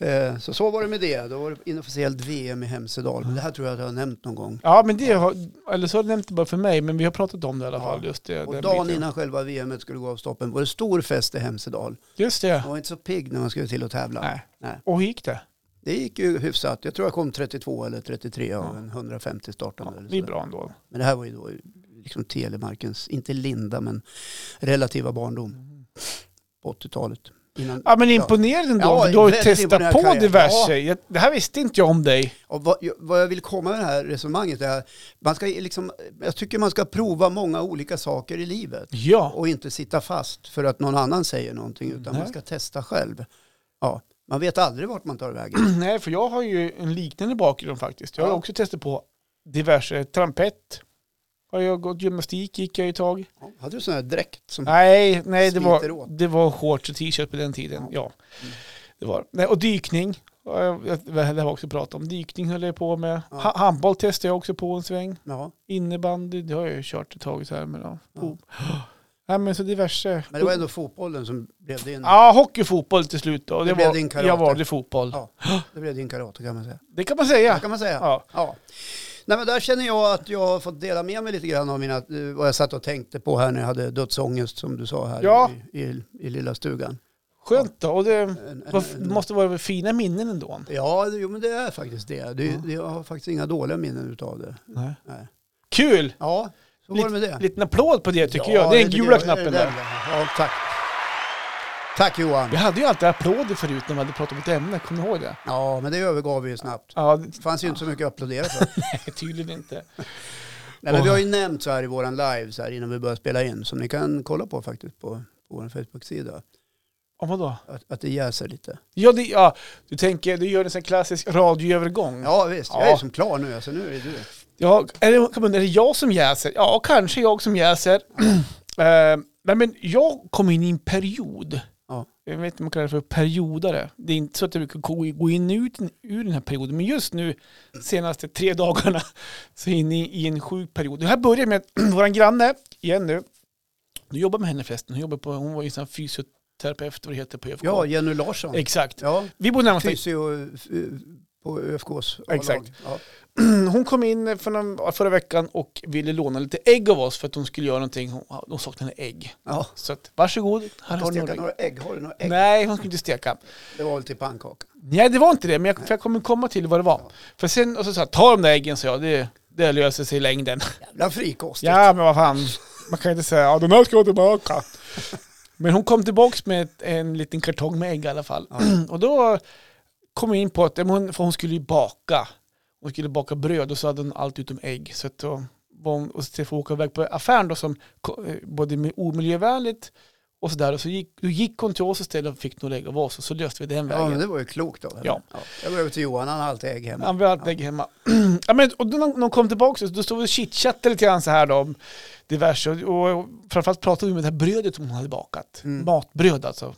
A: Eh, så så var det med det. Då var det inofficiellt VM i Hemsedal. Men det här tror jag att jag har nämnt någon gång.
B: Ja, men det har, eller så har du nämnt det bara för mig, men vi har pratat om det i alla
A: Ja.
B: fall. Just det,
A: Och
B: den
A: dagen
B: biten.
A: innan själva VM skulle gå av stoppen var det stor fest i Hemsedal.
B: Just
A: Man
B: det.
A: var inte så pigg när man skulle till att tävla.
B: Nej.
A: Nej.
B: Och hur gick det?
A: Det gick ju hyfsat. Jag tror jag kom 32 eller 33 av en 150
B: Ja,
A: startande. eller
B: det är
A: så.
B: bra ändå.
A: Men det här var ju då liksom Telemarkens, inte linda men relativa barndom på 80-talet. Innan,
B: Ja men imponerande ändå,
A: Mm. Ja,
B: för du har ju
A: väldigt
B: testat
A: imponerad
B: på
A: karriär.
B: diverse. Jag, det här visste inte jag om dig.
A: Och vad, jag- vad jag vill komma med det här resonemanget är man ska ju liksom, jag tycker man ska prova många olika saker i livet
B: Ja.
A: och inte sitta fast för att någon annan säger någonting utan
B: Nej.
A: man ska testa själv. Ja, man vet aldrig vart man tar vägen.
B: Nej, för jag har ju en liknande bakgrund faktiskt. Jag har
A: Ja.
B: också testat på diverse trampett. Har jag gått gymnastik, gick jag ett tag.
A: Ja, hade du sån här dräkt som
B: Nej, nej det,
A: Sliter
B: var,
A: åt.
B: det var shorts och t-shirt på den tiden. Ja.
A: Mm.
B: Det var. det. Nej, och dykning. Ja, jag- jag- Det här har vi också pratat om. Dykning höll jag på med.
A: Ja.
B: Ha, handboll testade jag också på en sväng.
A: Ja,
B: Innebandy, det har jag ju kört ett tag så här men ja. Fo- Nej men så diverse.
A: men det var ändå fotbollen som blev din,
B: Ja, hockey och fotboll till slut då. Det
A: Det blev
B: var,
A: din karate.
B: jag valde fotboll.
A: Ja. det blev din karate kan man säga.
B: Det kan man säga.
A: Det kan man säga.
B: Ja.
A: Ja. Nej, men där känner jag att jag har fått dela med mig lite grann av mina, eh, vad jag satt och tänkte på här när jag hade dödsångest som du sa här
B: Ja.
A: i, i, i lilla stugan.
B: Skönt då. Och det
A: En- en-
B: var, måste vara fina minnen ändå.
A: Ja, det- jo, men det är faktiskt det. det, det jag har faktiskt inga dåliga minnen utav det.
B: Nej.
A: Nej.
B: Kul!
A: Ja, så var det med det.
B: Liten applåd på det tycker
A: Ja,
B: jag. Det är den
A: tycker
B: gula
A: jag.
B: knappen där.
A: Ja, tack. Tack Johan.
B: Vi hade ju alltid applåder förut när vi hade pratat om ett ämne, kommer du ihåg det?
A: Ja, men det övergav vi ju snabbt.
B: Ja, det-
A: Det fanns ju inte så mycket att applådera för.
B: nej, tydligen inte.
A: Nej, men vi har ju nämnt så här i våran live så här innan vi börjar spela in som ni kan kolla på faktiskt på, på vår Facebook-sida.
B: Om vadå?
A: Att, att det jäser lite.
B: Ja, det, ja, du tänker, du gör en sån här klassisk radioövergång.
A: Ja visst, jag
B: Ja.
A: är som klar nu. Alltså, nu är det du.
B: Ja, är det, kan man- är det jag som jäser? Ja, kanske jag som jäser. Eh, nej, men jag kom in i en period.
A: Ja.
B: Jag vet inte om man kallar det för periodare. Det är inte så att jag brukar gå gå in och ut ur den här perioden. Men just nu, senaste tre dagarna, så är jag inne i, i en sjuk period. Det här börjar med att vår granne, igen nu, du jobbar med henne förresten. Hon, jobbar på, hon var ju sån här fysioterapeut, vad det heter på ÖFK.
A: Ja, Jenny Larsson.
B: Exakt.
A: Ja,
B: Vi bor närmast
A: fysio eh, på ÖFKs A-lag.
B: Exakt.
A: Ja.
B: Hon kom in för någon, förra veckan och ville låna lite ägg av oss för att hon skulle göra någonting. Hon, de saknade ägg.
A: Ja.
B: Så att, varsågod, här har ni
A: Steka
B: några ägg.
A: några ägg. Har du några ägg?
B: Nej, hon skulle inte steka.
A: Det var väl till pannkaka.
B: Nej, det var inte det, men jag, för jag kommer komma till vad det var. För sen, och så sa jag, ta de där äggen, sa jag, det, det löser sig i längden.
A: Jävla frikostigt.
B: Ja, men vad fan. Man kan inte säga, ja den här ska tillbaka. Men hon kom tillbaka med ett- en liten kartong med ägg i alla fall. Och då kom jag in på att ja, men hon, för hon skulle ju baka. Hon skulle baka bröd och så hade hon allt utom ägg. Så att då var hon, och så får åka iväg på affären då som ko- eh, både med omiljövänligt och sådär. Och så gick, då gick hon till oss istället och fick några ägg av oss och så löste vi den
A: Ja,
B: vägen.
A: men det var ju klokt av henne.
B: Ja.
A: Jag går över till Johan, han har alltid ägg hemma.
B: Han vill ha ett ägg hemma. ja, men, och då, när de kom tillbaka så då stod vi och chitchattade lite grann så här då, om diverse. Och, och framförallt pratade vi om det här brödet som hon hade bakat. Matbröd alltså.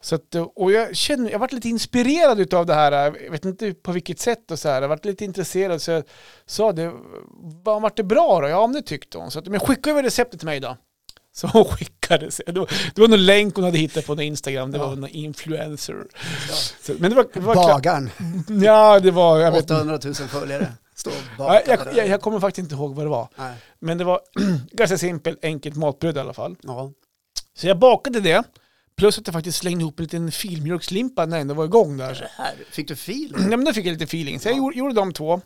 B: Så att, och jag känner, jag varit lite inspirerad utav det här, jag vet inte på vilket sätt och så här, jag varit lite intresserad så jag sa det, vad vart det bra då? Ja, om det tyckte hon. Så att, men skicka över receptet till mig då. Så hon skickade, sig. det var, det var någon länk hon hade hittat på någon Instagram, det var någon influencer. Så, men det var, det var klart-
A: Bagaren,
B: Ja, det var, jag vet inte.
A: 800 000 följare. Står och bakar
B: Ja,
A: där.
B: jag, jag, jag kommer faktiskt inte ihåg vad det var.
A: Nej.
B: Men det var ganska simpelt, enkelt matbröd i alla fall.
A: Ja.
B: Så jag bakade det. Plus att jag faktiskt slängde ihop en liten filmjölkslimpa när jag ändå var igång där.
A: Här, fick du fil?
B: Ja, men då fick jag lite feeling. Så jag gjorde, gjorde de två.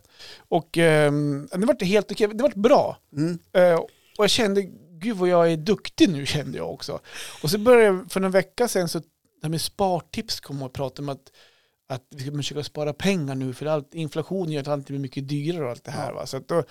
B: Och ehm, det var helt okej. Det var bra.
A: Mm.
B: Eh, och jag kände, gud vad jag är duktig nu kände jag också. Och så började jag, för någon vecka sedan, så det här med spartips kom jag och pratade om att, att vi ska försöka spara pengar nu för allt, inflation gör att allt blir mycket dyrare och allt det här. Va? Så att då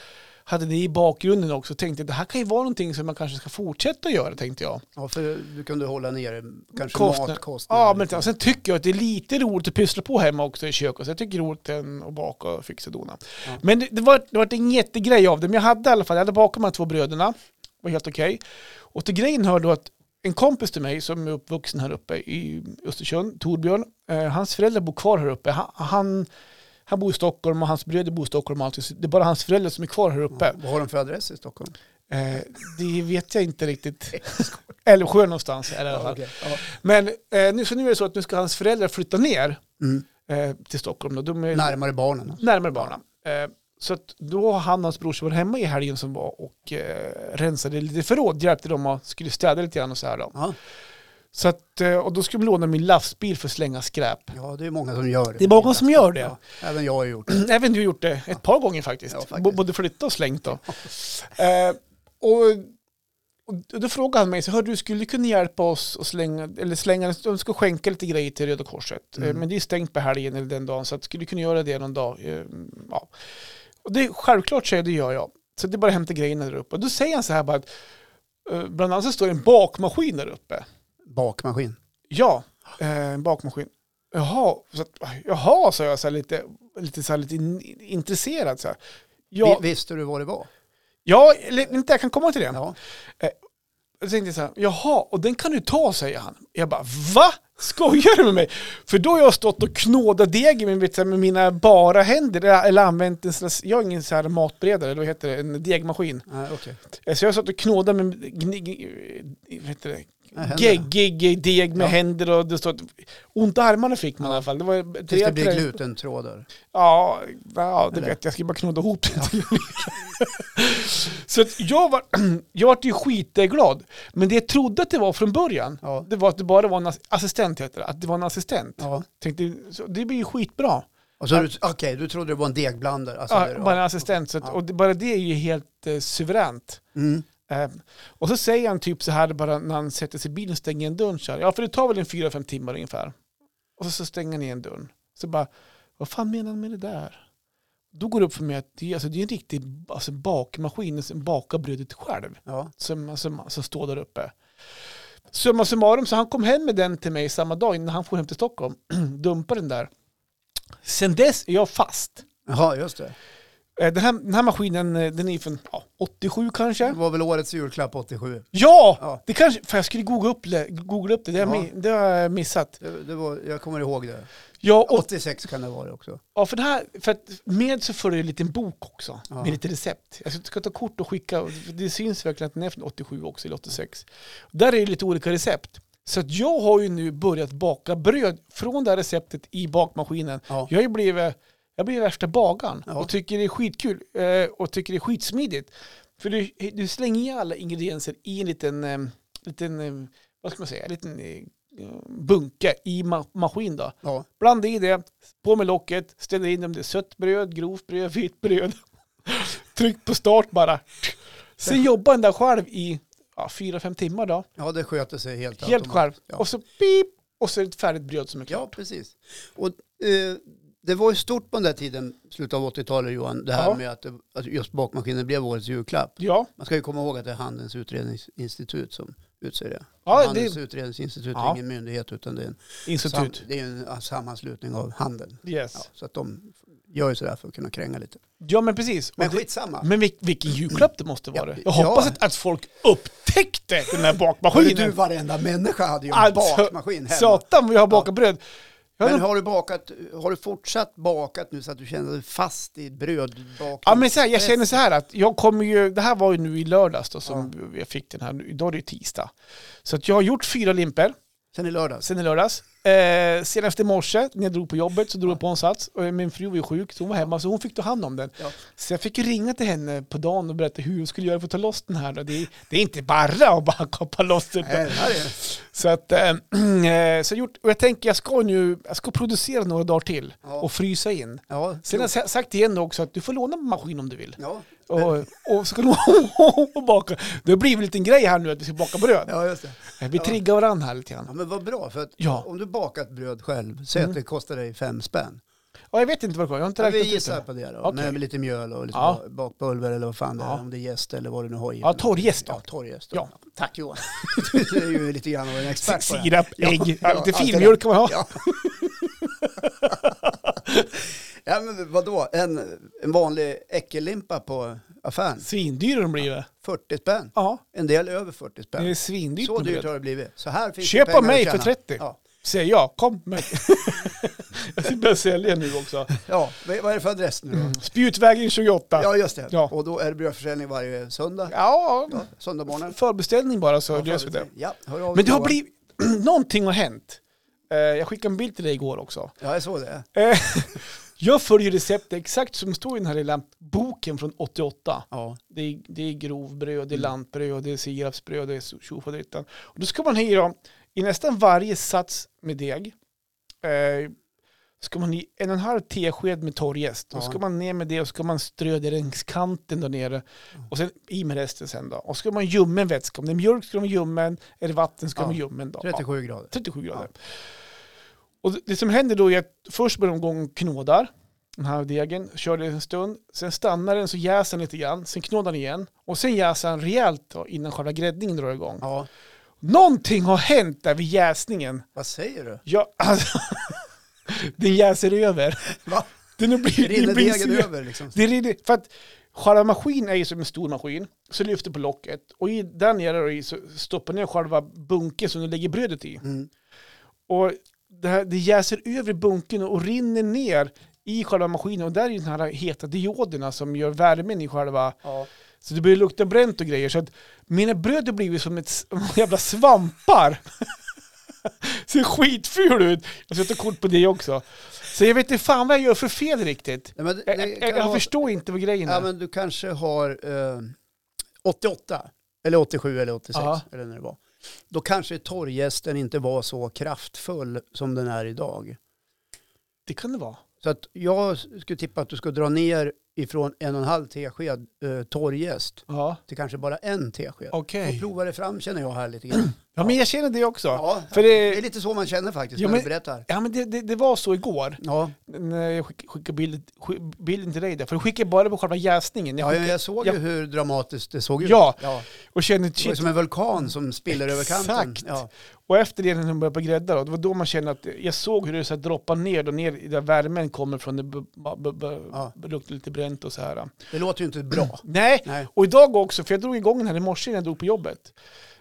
B: hade det i bakgrunden också tänkte jag, det här kan ju vara någonting som man kanske ska fortsätta göra tänkte jag.
A: Ja, för du kunde hålla nere kanske
B: Kostnad-
A: matkostnader.
B: Ja, men alltså, och sen tycker jag att det är lite roligt att pyssla på hemma också i köket. Så jag tycker det är roligt än att baka och fixa och dona. Men det, det, var, det var en jättegrej av det. Men jag hade i alla fall, jag hade bakat de här två bröderna. Det var helt okej. Och till grejen hör då att en kompis till mig som är uppvuxen här uppe i Östersund, Torbjörn, eh, hans föräldrar bor kvar här uppe. Han, han, han bor i Stockholm och hans bröder bor i Stockholm. och allt. Så Det är bara hans föräldrar som är kvar här uppe.
A: Vad har de för adress i Stockholm?
B: Eh, det vet jag inte riktigt. Älvsjö någonstans är det i alla fall.
A: okej. Ja.
B: Men eh, nu, så nu är det så att nu ska hans föräldrar flytta ner
A: Mm.
B: eh, till Stockholm. Då. De är
A: Närmare barnen.
B: närmare barnen. Eh, så att då har han och hans brorsa varit hemma i helgen som var och eh, rensade lite förråd, hjälpte dem att skulle städa lite grann och så här då.
A: Ja.
B: Så att, eh, och då skulle de låna min lastbil för att slänga skräp.
A: ja, det är många som gör det.
B: Det är många som gör det.
A: Ja, även jag har gjort det.
B: Även du har gjort det ett par gånger faktiskt.
A: Ja, faktiskt.
B: B- Både flyttat och slängt då. Eh, och Och då frågade han mig, så hörde du skulle kunna hjälpa oss att slänga, eller slänga, de ska skänka lite grejer till Röda Korset. Eh,
A: Mm.
B: Men det är stängt på helgen eller den dagen, så att, skulle du kunna göra det någon dag? Eh, Ja. Och det, självklart säger jag, det gör jag. Så det är bara att hämta grejerna där uppe. Och då säger han så här bara att, eh, bland annat så står det en bakmaskin där uppe.
A: Bakmaskin.
B: Ja, eh, en bakmaskin. Jaha, så att, jaha, sa jag så här lite, lite, så här, lite in, intresserad. Så här. Ja,
A: Vi, visste du vad det var?
B: ja, eller inte, jag kan komma till det. Eh,
A: Ja.
B: Jag tänkte så här, jaha, och den kan du ta, säger han. Jag bara, va? Skojar du med mig? För då har jag stått och knådat degen med, vet, så här, med mina bara händer, eller- eller använt en sån här, jag har ingen så här matberedare, eller vad heter det, en degmaskin.
A: Nej, okej.
B: Eh, Så jag satt och knådade med, gni- gni- vad heter det,
A: Nej, händer.
B: geggig deg med
A: Ja.
B: händer och det stod, ont i armarna fick man i alla fall. Det var
A: Tills det
B: tre-
A: blir glutentrådar.
B: Ja, ja det
A: Eller?
B: vet jag. Jag ska bara knåda ihop det. så att jag var, jag var ju skitglad. Men det jag trodde att det var från början,
A: Ja.
B: det var att det bara var en ass- assistent, heter det. Att det var en assistent.
A: Ja.
B: Tänkte, så det blir ju skitbra.
A: Och så du- Okej, du trodde det var en degblandare. Alltså,
B: Ja,
A: det-
B: bara en assistent. Så att,
A: Ja.
B: Och det, bara det är ju helt eh, suveränt.
A: Mm.
B: Eh, och så säger han typ så här bara när han sätter sig i bilen och stänger igen dörren. Så här, ja, för det tar väl en fyra, fem timmar ungefär. Och så, så stänger han igen dörren. Så bara, vad fan menar han med det där? Då går det upp för mig att det, är- alltså, det är en riktig alltså, bakmaskin som bakar brödet själv.
A: Ja.
B: Som, alltså, som, som står där uppe. Summa summarum, så han kom hem med den till mig samma dag innan han for hem till Stockholm. Dumpade den där. Sen dess är jag fast.
A: Jaha, just det.
B: Eh, Den här, den här maskinen, eh, den är från ja, 87 kanske.
A: Det var väl årets julklapp 87.
B: Ja!
A: Ja.
B: Det kanske, för jag skulle googla upp, le- googla upp det, det, har jag
A: Ja.
B: mi- det har jag missat.
A: det, det var, jag kommer ihåg det.
B: Ja, och,
A: 86 kan det vara också.
B: ja för, det här, för att med så följer en liten bok också,
A: Ja.
B: med lite recept. Jag ska- ska ta kort och skicka, och det syns verkligen att den är från 87 också, eller 86. Där är det lite olika recept. Så att jag har ju nu börjat baka bröd från det här receptet i bakmaskinen.
A: Ja.
B: Jag har ju blivit, jag blir värsta bagaren
A: Ja.
B: och tycker det är skitkul eh, och tycker det är skitsmidigt. För du, du slänger ju alla ingredienser i en liten, eh, liten eh, vad ska man säga, en liten eh, bunke i ma- maskin då.
A: Ja.
B: Blanda i det, på med locket, ställer in om det är sött bröd, grovt bröd, vitt bröd. Tryck på start bara. Sen jobbar den där själv i ja, fyra, fem timmar då.
A: ja, det sköter sig helt
B: Helt
A: automatiskt.
B: själv.
A: Ja.
B: Och så pip, och så är det ett färdigt bröd som är klart.
A: Ja, precis. Och, eh, det var ju stort på den där tiden, slutet av 80-talet Johan, det här
B: Ja.
A: med att, det, att just bakmaskinen blev årets julklapp.
B: Ja,
A: Man ska ju komma ihåg att det är Handelns utredningsinstitut som utser det.
B: Ja,
A: Handelns
B: det-
A: utredningsinstitut är
B: Ja.
A: ingen myndighet utan det är en, sam,
B: institut.
A: det är en sammanslutning av handeln.
B: Yes.
A: Ja, så att de gör ju sådär för att kunna kränga lite.
B: Ja men precis.
A: Men
B: Och det-
A: skitsamma.
B: men vil, vilken julklapp det måste vara.
A: Ja,
B: Jag hoppas
A: ja.
B: att, att folk upptäckte den här
A: Hörru du,
B: bakmaskinen.
A: varenda människa hade ju en
B: Alltså,
A: bakmaskin hemma.
B: Satan vad jag har bakat bröd. Jag hade
A: Men har du, bakat, har du fortsatt bakat nu så att du känner dig fast i brödbakning?
B: Ja, men så här, jag känner så här att jag kommer ju, det här var ju nu i lördags då som jag fick den här, nu- idag är det ju tisdag. Så att jag har gjort fyra limper
A: Sen i lördags?
B: sen i lördags. Eh, sen efter morse när jag drog på jobbet så drog jag på en sats. Och eh, min fru var ju sjuk så hon var hemma så hon fick ta hand om den.
A: Ja.
B: Så jag fick ju ringa till henne på dagen och berätta hur hon skulle göra för att ta loss den här. Då. Det, är- det är inte bara att bara kapa loss den.
A: Nej, det här är-
B: Så att, eh, eh, så jag gjort, och jag tänker jag ska nu, jag ska producera några dagar till
A: Ja.
B: och frysa in.
A: Ja,
B: Sen har jag sa- sagt igen också att du får låna maskin om du vill.
A: ja.
B: Och, och så kan hon och baka. Det blir en liten grej här nu att vi ska baka bröd.
A: ja, just det.
B: Vi triggar varandra här lite
A: Ja,
B: grann.
A: men vad bra, för att
B: Ja. Mm.
A: om du bakat bröd själv, säg att det kostar dig fem spänn.
B: Ja, jag vet inte vad det kostar, jag har inte
A: Ja, vi
B: räknat ut
A: gissar
B: det.
A: på det då,
B: Okej.
A: med lite mjöl och lite
B: Ja.
A: ba- bakpulver eller vad fan det
B: Ja.
A: är, om det är jäst eller vad du nu har i.
B: Ja, torrjäst då.
A: Ja, torrjäst. då.
B: Ja.
A: Tack Johan. du är ju lite grann av en expert på det. här.
B: Sirap, ägg, ja, lite
A: allt det där.
B: filmjölk kan man ha.
A: Ja. ja, men vadå? En, en vanlig äckellimpa på affären.
B: Svindyra de blir det.
A: 40 spänn.
B: Ja,
A: En del över 40
B: det är
A: spänn.
B: svindyrt.
A: Så
B: med
A: dyrt
B: bröd.
A: har det blivit. Så här finns det
B: Köp
A: pengar
B: av mig
A: att
B: för
A: tjäna.
B: 30.
A: Ja.
B: Säger jag, kom med. jag ska börja sälja nu också.
A: ja, vad vad är det för adress nu då?
B: Spjutvägen 28. Ja,
A: Ja, just det.
B: Mm. Ja.
A: Och då är det brödförsäljning varje söndag.
B: ja.
A: Ja, söndag morgon.
B: förbeställning bara så löser vi det.
A: Ja, hör av
B: Men
A: dig,
B: det har
A: Johan.
B: blivit, någonting har hänt. Eh, Jag skickade en bild till dig igår också.
A: Ja, jag såg det.
B: Eh, Jag följer receptet exakt som står i den här lilla boken från 88.
A: Ja.
B: Det är, det är grovbröd, det är
A: Mm.
B: lantbröd, det är sirapsbröd, det är tjofaderittan. Och Då ska man hyra i nästan varje sats med deg. Eh, ska man i en och en halv tesked med torrjäst. Då
A: Ja.
B: ska man ner med det och ska man strö det längs kanten där nere.
A: Mm.
B: Och sen i med resten sen då. Och ska man ljummen vätska. Om det är mjölk ska de vara ljummen. Är det vatten ska de vara
A: Ja.
B: ljummen då. Ja.
A: 37 grader.
B: 37 grader. Och det- det som händer då är att först börjar de gång knådar den här degen, kör det en stund, sen stannar den så jäser den lite grann, sen knådar den igen och sen jäser den rejält då, innan själva gräddningen drar igång.
A: Ja,
B: Någonting har hänt där vid jäsningen.
A: vad säger du?
B: Ja, alltså, den jäser över.
A: Va?
B: Den har blivit,
A: Rinner
B: den blir
A: degen
B: sur.
A: över liksom?
B: Det rinner, för att själva maskinen är ju som en stor maskin, så lyfter på locket och i, där nere då i så stoppar ner själva bunken som du lägger brödet i.
A: Mm.
B: Och det, här, det jäser över i bunken och rinner ner i själva maskinen. Och där är ju de här heta dioderna som gör värmen i själva...
A: Ja.
B: Så det börjar lukta bränt och grejer. Så att mina bröd har blivit som ett s- jävla svampar. Ser skitful ut. Jag ska ta kort på det också. Så jag vet inte fan vad jag gör för fel riktigt.
A: Nej, men det,
B: Jag,
A: det
B: jag,
A: kan
B: Eh, jag
A: vara-
B: förstår inte vad grejen är.
A: Ja, men du kanske har eh, 88, eller 87 eller 86,
B: Ja.
A: eller när det var. Då kanske torrjästen inte var så kraftfull som den är idag.
B: Det kan det vara.
A: Så att jag skulle tippa att du ska dra ner ifrån en och en halv tesked eh, torrjäst
B: Ja,
A: till kanske bara en tesked.
B: okej.
A: Och prova det fram känner jag här lite grann.
B: Ja, men jag känner det också. Ja,
A: Ja,
B: För det-
A: det... är lite så man känner faktiskt
B: Ja,
A: när
B: men-
A: du berättar.
B: men det, det, det var så igår.
A: Ja,
B: när jag skick- skickar bild, skick- bilden till dig där. För du skickar bara på själva jäsningen. Jag
A: ja
B: skickar,
A: jag såg
B: ja.
A: ju hur dramatiskt det såg ut.
B: Ja.
A: ja.
B: och känner
A: Det var
B: shit.
A: som en vulkan som spiller över kanten.
B: Exakt.
A: Ja.
B: Och efter det när de började på grädda då, det var då man kände att jag såg hur det så här droppar ner då ner där värmen kommer från det b- b- b-
A: Ja.
B: luktar lite bränt och så här.
A: Det låter ju inte bra.
B: Nej,
A: Nej.
B: och idag också, för jag drog igång den här i morse innan jag drog på jobbet.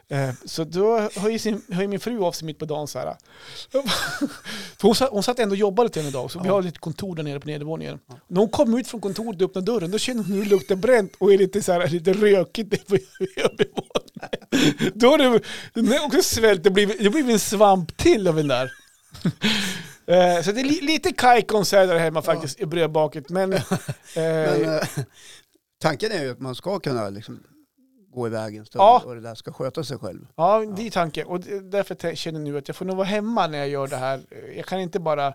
B: Eh, Så då höjer, sin, höjer min fru av sig mitt på dagen så här. För hon, satt, hon satt ändå och jobbade lite grann idag, så vi
A: Ja.
B: har lite kontor där nere på nedervåningen. När hon kom ut från kontoret och öppnade dörren, då kände hon hur det luktar bränt och är lite, så här, lite rökigt där på övervåningen. Då har det, den har också svällt, det blir, det blir en svamp till av den där. Eh, Så det är li, lite kajkons här där hemma faktiskt, i brödbaket. Men, eh,
A: Men, eh, tanken är ju att man ska kunna liksom, gå iväg en stund
B: Ja.
A: och det där ska sköta sig själv.
B: Ja, det är tanken. Och det- därför tä- känner jag nu att jag får nog vara hemma när jag gör det här. Jag kan inte bara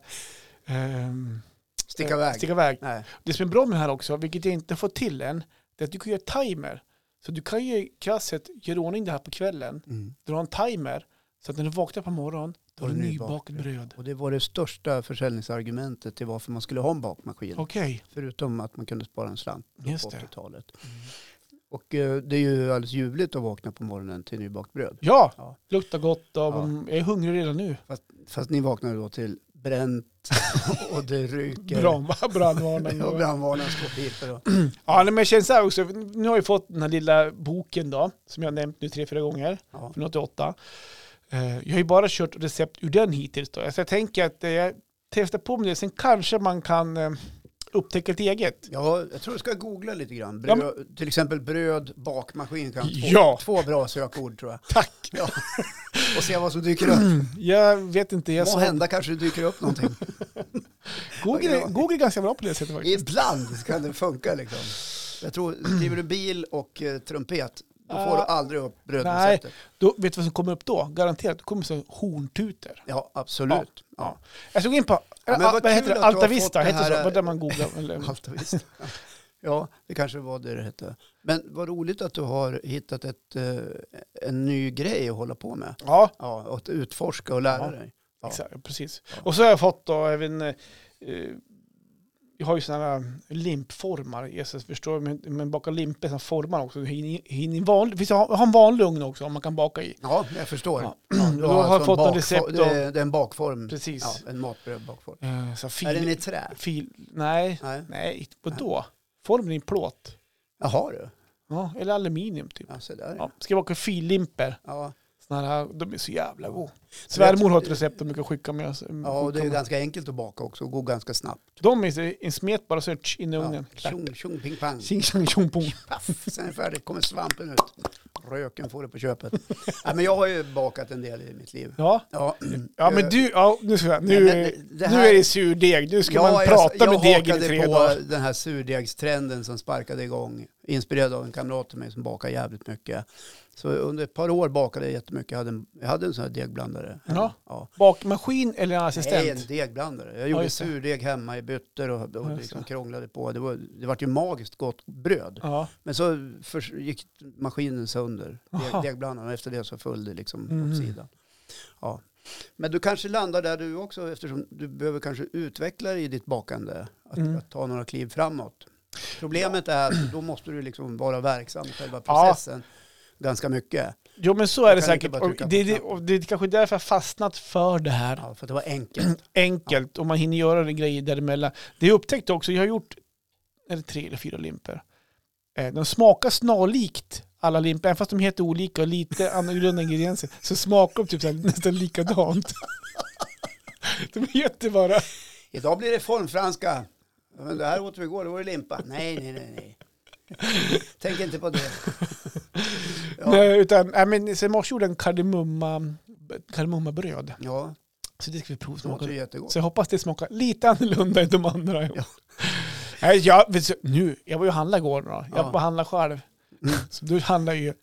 B: ehm,
A: Sticka
B: eh,
A: iväg.
B: sticka iväg.
A: Nej.
B: Det som är bra med det här också, vilket jag inte fått till än, det är att du kan göra timer. Så du kan ju krasst sett göra i ordning det här på kvällen,
A: Mm.
B: dra en timer, så att när du vaknar på morgonen, då har
A: Har
B: du
A: du
B: nybakat
A: nybakat
B: bröd.
A: Och det var det största försäljningsargumentet till varför man skulle ha en bakmaskin.
B: Okej,
A: Förutom att man kunde spara en slant på
B: just det. Mm.
A: 80-talet. Och eh, det är ju alldeles ljuvligt att vakna på morgonen till nybakt bröd.
B: Ja,
A: Ja.
B: luktar gott och
A: Ja.
B: mm, jag är hungrig redan nu.
A: Fast ni vaknar då till bränt och det ryker.
B: Bra, brandvarning.
A: Och
B: och-
A: brandvarnaren står och piper. och-
B: Ja, nej, men jag känner så här också, nu har jag fått den här lilla boken då, som jag har nämnt nu tre, fyra gånger.
A: Ja.
B: från 88. Eh, Jag har ju bara kört recept ur den hittills då. Så jag tänker att eh, jag testar på med det, sen kanske man kan eh, upptäcka ett eget.
A: Ja, jag tror du ska googla lite grann.
B: Ja,
A: Bröd, Till exempel bröd, bakmaskin kan två,
B: Ja.
A: två bra sökord tror jag.
B: Tack!
A: Ja. Och se vad som dyker upp.
B: Mm. Jag vet inte, jag
A: Må
B: såg,
A: hända kanske det dyker upp någonting.
B: Google, är- Google är ganska bra på det sättet faktiskt.
A: Ibland kan det funka liksom. Jag tror, skriver du bil och eh, trumpet, då får du
B: Ah.
A: aldrig upp
B: Nej,
A: brödreceptet.
B: då, vet du vad som kommer upp då? Garanterat, det kommer så här horntuter.
A: Ja, absolut. Ja.
B: Jag såg in på,
A: men
B: ah,
A: vad
B: vad
A: kul
B: heter
A: att
B: det?
A: du har
B: Alta
A: fått
B: Vista,
A: det
B: heter det så?
A: här- eh,
B: Vad där man googlar. Eller,
A: Allt och visst. Ja, det kanske var det det hette. Men vad roligt att du har hittat ett, eh, en ny grej att hålla på med.
B: ja,
A: Ja, och att utforska och lära
B: Ja.
A: dig. Ja.
B: Exakt, precis.
A: Ja.
B: Och så har jag fått då även, eh, eh, jag har ju sådana här limpformar, Jesus förstår, men, men bakar limpor, sådana formar också. Du hinner- hinner i en vanlig- finns- Jag har en vanlig ugn också om man kan baka i.
A: Ja, jag förstår.
B: Ja.
A: Ja.
B: Då har jag
A: alltså en
B: fått en
A: bakfor-
B: recept
A: Det, är- det är en bakform.
B: Precis.
A: Ja, en matbrödbakform.
B: Eh, Så här fil,
A: Är den i trä?
B: fil, nej,
A: Nej.
B: nej, vadå? Formen är i plåt.
A: Jaha du.
B: Ja, eller aluminium typ.
A: Ja, så där. Ja.
B: Ja, ska jag baka fillimper.
A: Ja.
B: Såna här, de är så jävla goda. Svärmor har ett recept de brukar skicka med. oss-
A: ja, och det är ju
B: skicka med.
A: ganska enkelt att baka också och går ganska snabbt.
B: De är så- en smet bara så här, tsch, in i
A: Ja.
B: ugnen. Klack.
A: Tjong, tjong, ping, pang.
B: Tjing tjong tjong pong.
A: Paff, sen är det färdigt. Kommer svampen ut. Röken får det på köpet. ja, men jag har ju bakat en del i mitt liv.
B: Ja,
A: Ja, mm.
B: Ja men du, ja, nu, ska jag, nu,
A: Eh, Men det- det här-
B: nu är det surdeg, nu ska man prata
A: jag,
B: med degen i
A: hakade
B: tre
A: på
B: dagar.
A: den här surdegstrenden som sparkade igång inspirerad av en kamrat till mig som bakar jävligt mycket. Så under ett par år bakade jag jättemycket. Jag hade en, jag hade en sån här degblandare.
B: Ja.
A: Ja.
B: Bakmaskin eller en assistent?
A: Nej, en degblandare. Jag gjorde
B: just det.
A: surdeg hemma i byttor och,
B: Ja,
A: och
B: just
A: liksom
B: det.
A: krånglade på. Det var, det var ju magiskt gott bröd.
B: Ja.
A: Men så förs- gick maskinen sönder,
B: Aha.
A: deg- degblandaren, och efter det så föll det liksom
B: Mhm.
A: åt sidan. Ja. Men du kanske landar där du också, eftersom du behöver kanske utveckla dig i ditt bakande, att,
B: Mm.
A: att ta några kliv framåt. Problemet är att då måste du liksom vara verksam i själva processen ganska mycket.
B: Jo men så
A: Jag
B: är det
A: kan lika
B: säkert.
A: bara
B: Och
A: trycka på
B: det, det,
A: knappen.
B: och det är kanske därför jag fastnat för det här.
A: Ja, för att det var enkelt.
B: Enkelt och man hinner göra det grejer däremellan. Det jag upptäckte också, jag har gjort är det tre eller fyra limper. Eh, De smakar snarlikt alla limper, även fast de heter olika och lite annorlunda ingredienser, så smakar de typ så här, nästan likadant. De heter bara...
A: Idag blir det formfranska. Men det här åt vi igår, det var det limpa. Nej, nej, nej, nej. Tänk inte på det. Ja.
B: Nej, utan, nej, men, så i morse gjorde jag en kardemumma, kardemummabröd.
A: Ja,
B: Så det ska vi
A: det
B: provsmaka.
A: låter ju jättegott.
B: Så jag hoppas det smakar lite annorlunda än de andra. Nej, jag, vet du, nu, jag var ju och handlade igår. Då. Jag
A: Ja. Mm.
B: var och handlade själv. Så du handlar ju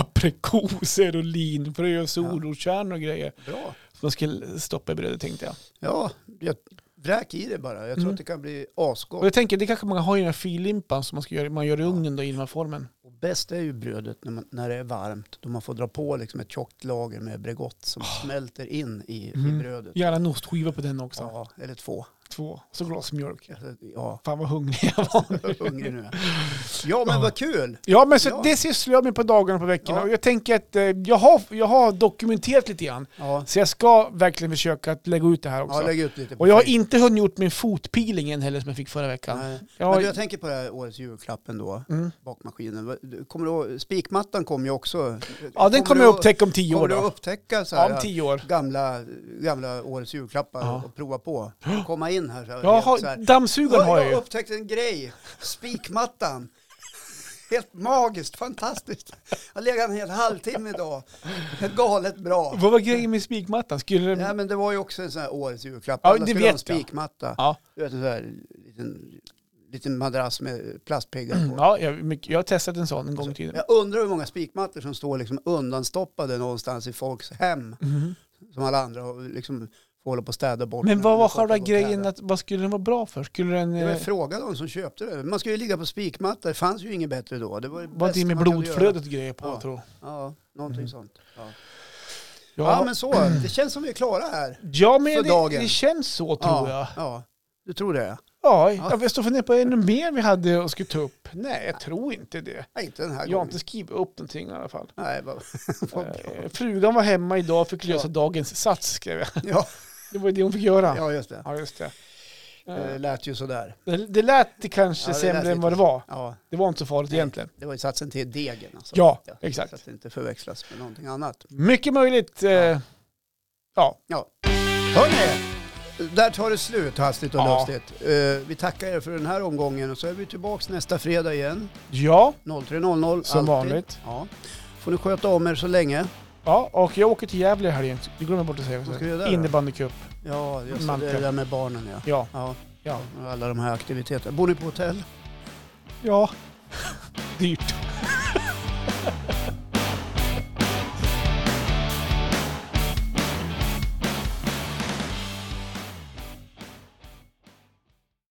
B: aprikoser och linfrö och solrotkärnor och grejer.
A: Bra.
B: Som jag skulle stoppa i brödet tänkte jag.
A: Ja, jag vräk i det bara. Jag
B: Mm.
A: tror att det kan bli
B: Och
A: asgott.
B: jag tänker, det kanske man har i den här fyrlimpan som man, ska göra, man gör i ugnen då i den här formen.
A: Och bäst är ju brödet när, man, när det är varmt. Då man får dra på liksom ett tjockt lager med Bregott som
B: Ah.
A: smälter in i,
B: Mm.
A: i brödet.
B: Gärna en ostskiva på den också.
A: Ja, eller två.
B: Två. Så glas mjölk.
A: Alltså, Ja,
B: Fan vad hungrig jag var.
A: jag är hungrig nu. Ja, men vad kul!
B: Ja, men så
A: Ja.
B: det sysslar jag med på dagarna och på veckorna.
A: Ja.
B: Och jag tänker att eh, jag har, jag har dokumenterat lite grann.
A: Ja,
B: Så jag ska verkligen försöka att lägga ut det här också.
A: ja lägg ut lite. på
B: och jag har
A: Facebook.
B: inte hunnit gjort min fotpeeling än heller som jag fick förra veckan.
A: Nej.
B: Ja,
A: Men du, jag tänker på det här årets julklapp ändå,
B: Mm.
A: bakmaskinen. Vad- du- Kommer du, ihåg- spikmattan kom ju också.
B: Ja, den kommer
A: du
B: jag
A: att-
B: upptäcka om tio år
A: Kommer du
B: då.
A: att upptäcka så här,
B: Ja, om tio år.
A: gamla, gamla årets julklappar
B: Ja.
A: och prova på? Komma in här så här,
B: Jag
A: helt
B: har,
A: så här.
B: dammsugaren har
A: "Oj,
B: jag
A: jag
B: ju.
A: upptäckte en grej, spikmattan. Helt magiskt, fantastiskt. Jag lägger en hel halvtimme idag. Helt galet bra.
B: Vad var grejen med spikmattan? Skulle
A: Nej,
B: den...
A: men det var ju också en sån här årets julklapp.
B: Ja,
A: Alla
B: det
A: skulle ha en
B: vet jag.
A: spikmatta.
B: Ja,
A: Du vet en sån här liten, liten madrass med plastpiggar på.
B: ja jag, mycket, jag har testat en sån en gång i tiden.
A: Jag undrar hur många spikmattor som står liksom undanstoppade någonstans i folks hem. Som alla andra har liksom får hålla på och städa bort.
B: Mhm. Men
A: när
B: vad
A: de
B: var
A: folk har
B: själva
A: gått
B: grejen?
A: här.
B: Att, vad skulle den vara bra för? Skulle den...
A: Det var
B: eh,
A: fråga de som köpte det. Man skulle ju ligga på spikmatta. Det fanns ju inget bättre då. Det var det
B: Var det
A: bästa
B: med
A: man kunde
B: blodflödet och grejer på,
A: Ja.
B: jag tror
A: göra. Ja, någonting
B: Mm.
A: sånt. Ja.
B: jag.
A: ja, men så. Det känns som vi är klara här.
B: ja, men
A: för
B: det,
A: dagen.
B: det känns så
A: ja,
B: tror jag.
A: Ja, du tror det?
B: Ja,
A: Ja.
B: jag står och funderar på är det något mer vi hade och skulle ta upp. Nej, jag tror inte det.
A: Nej, inte den här
B: Jag har
A: gången.
B: inte skrivit upp någonting i alla fall.
A: Nej, vad, vad bra.
B: Eh, Frugan var hemma idag och fick lösa
A: Ja.
B: dagens sats, skrev jag.
A: Ja,
B: Det var ju det hon fick göra.
A: ja,
B: Ja,
A: just det.
B: just det.
A: Det
B: Eh,
A: lät ju sådär.
B: Det, det lät det kanske
A: Ja, det lät
B: sämre än
A: lite
B: vad det var.
A: Ja,
B: Det var inte så farligt
A: Nej.
B: egentligen.
A: det var ju satsen till degen alltså.
B: Ja, exakt.
A: Så att det inte förväxlas med någonting annat.
B: Mycket möjligt. eh,
A: Ja.
B: Ja.
A: Ja. Hörni, där tar det slut hastigt och
B: Ja.
A: lustigt. Eh, vi tackar er för den här omgången och så är vi tillbaka nästa fredag igen.
B: ja,
A: 03.00.
B: som
A: alltid.
B: vanligt.
A: Ja. Får ni sköta om er så länge.
B: Ja, och jag åker till Gävle i helgen. Det glömde jag bort att säga.
A: Vad ska du göra där då?
B: Innebandycup.
A: Ja, just det, det
B: Manka.
A: är det där med barnen ja.
B: Ja,
A: Ja,
B: ja,
A: och alla de här aktiviteterna. Bor ni på hotell?
B: ja. Dyrt.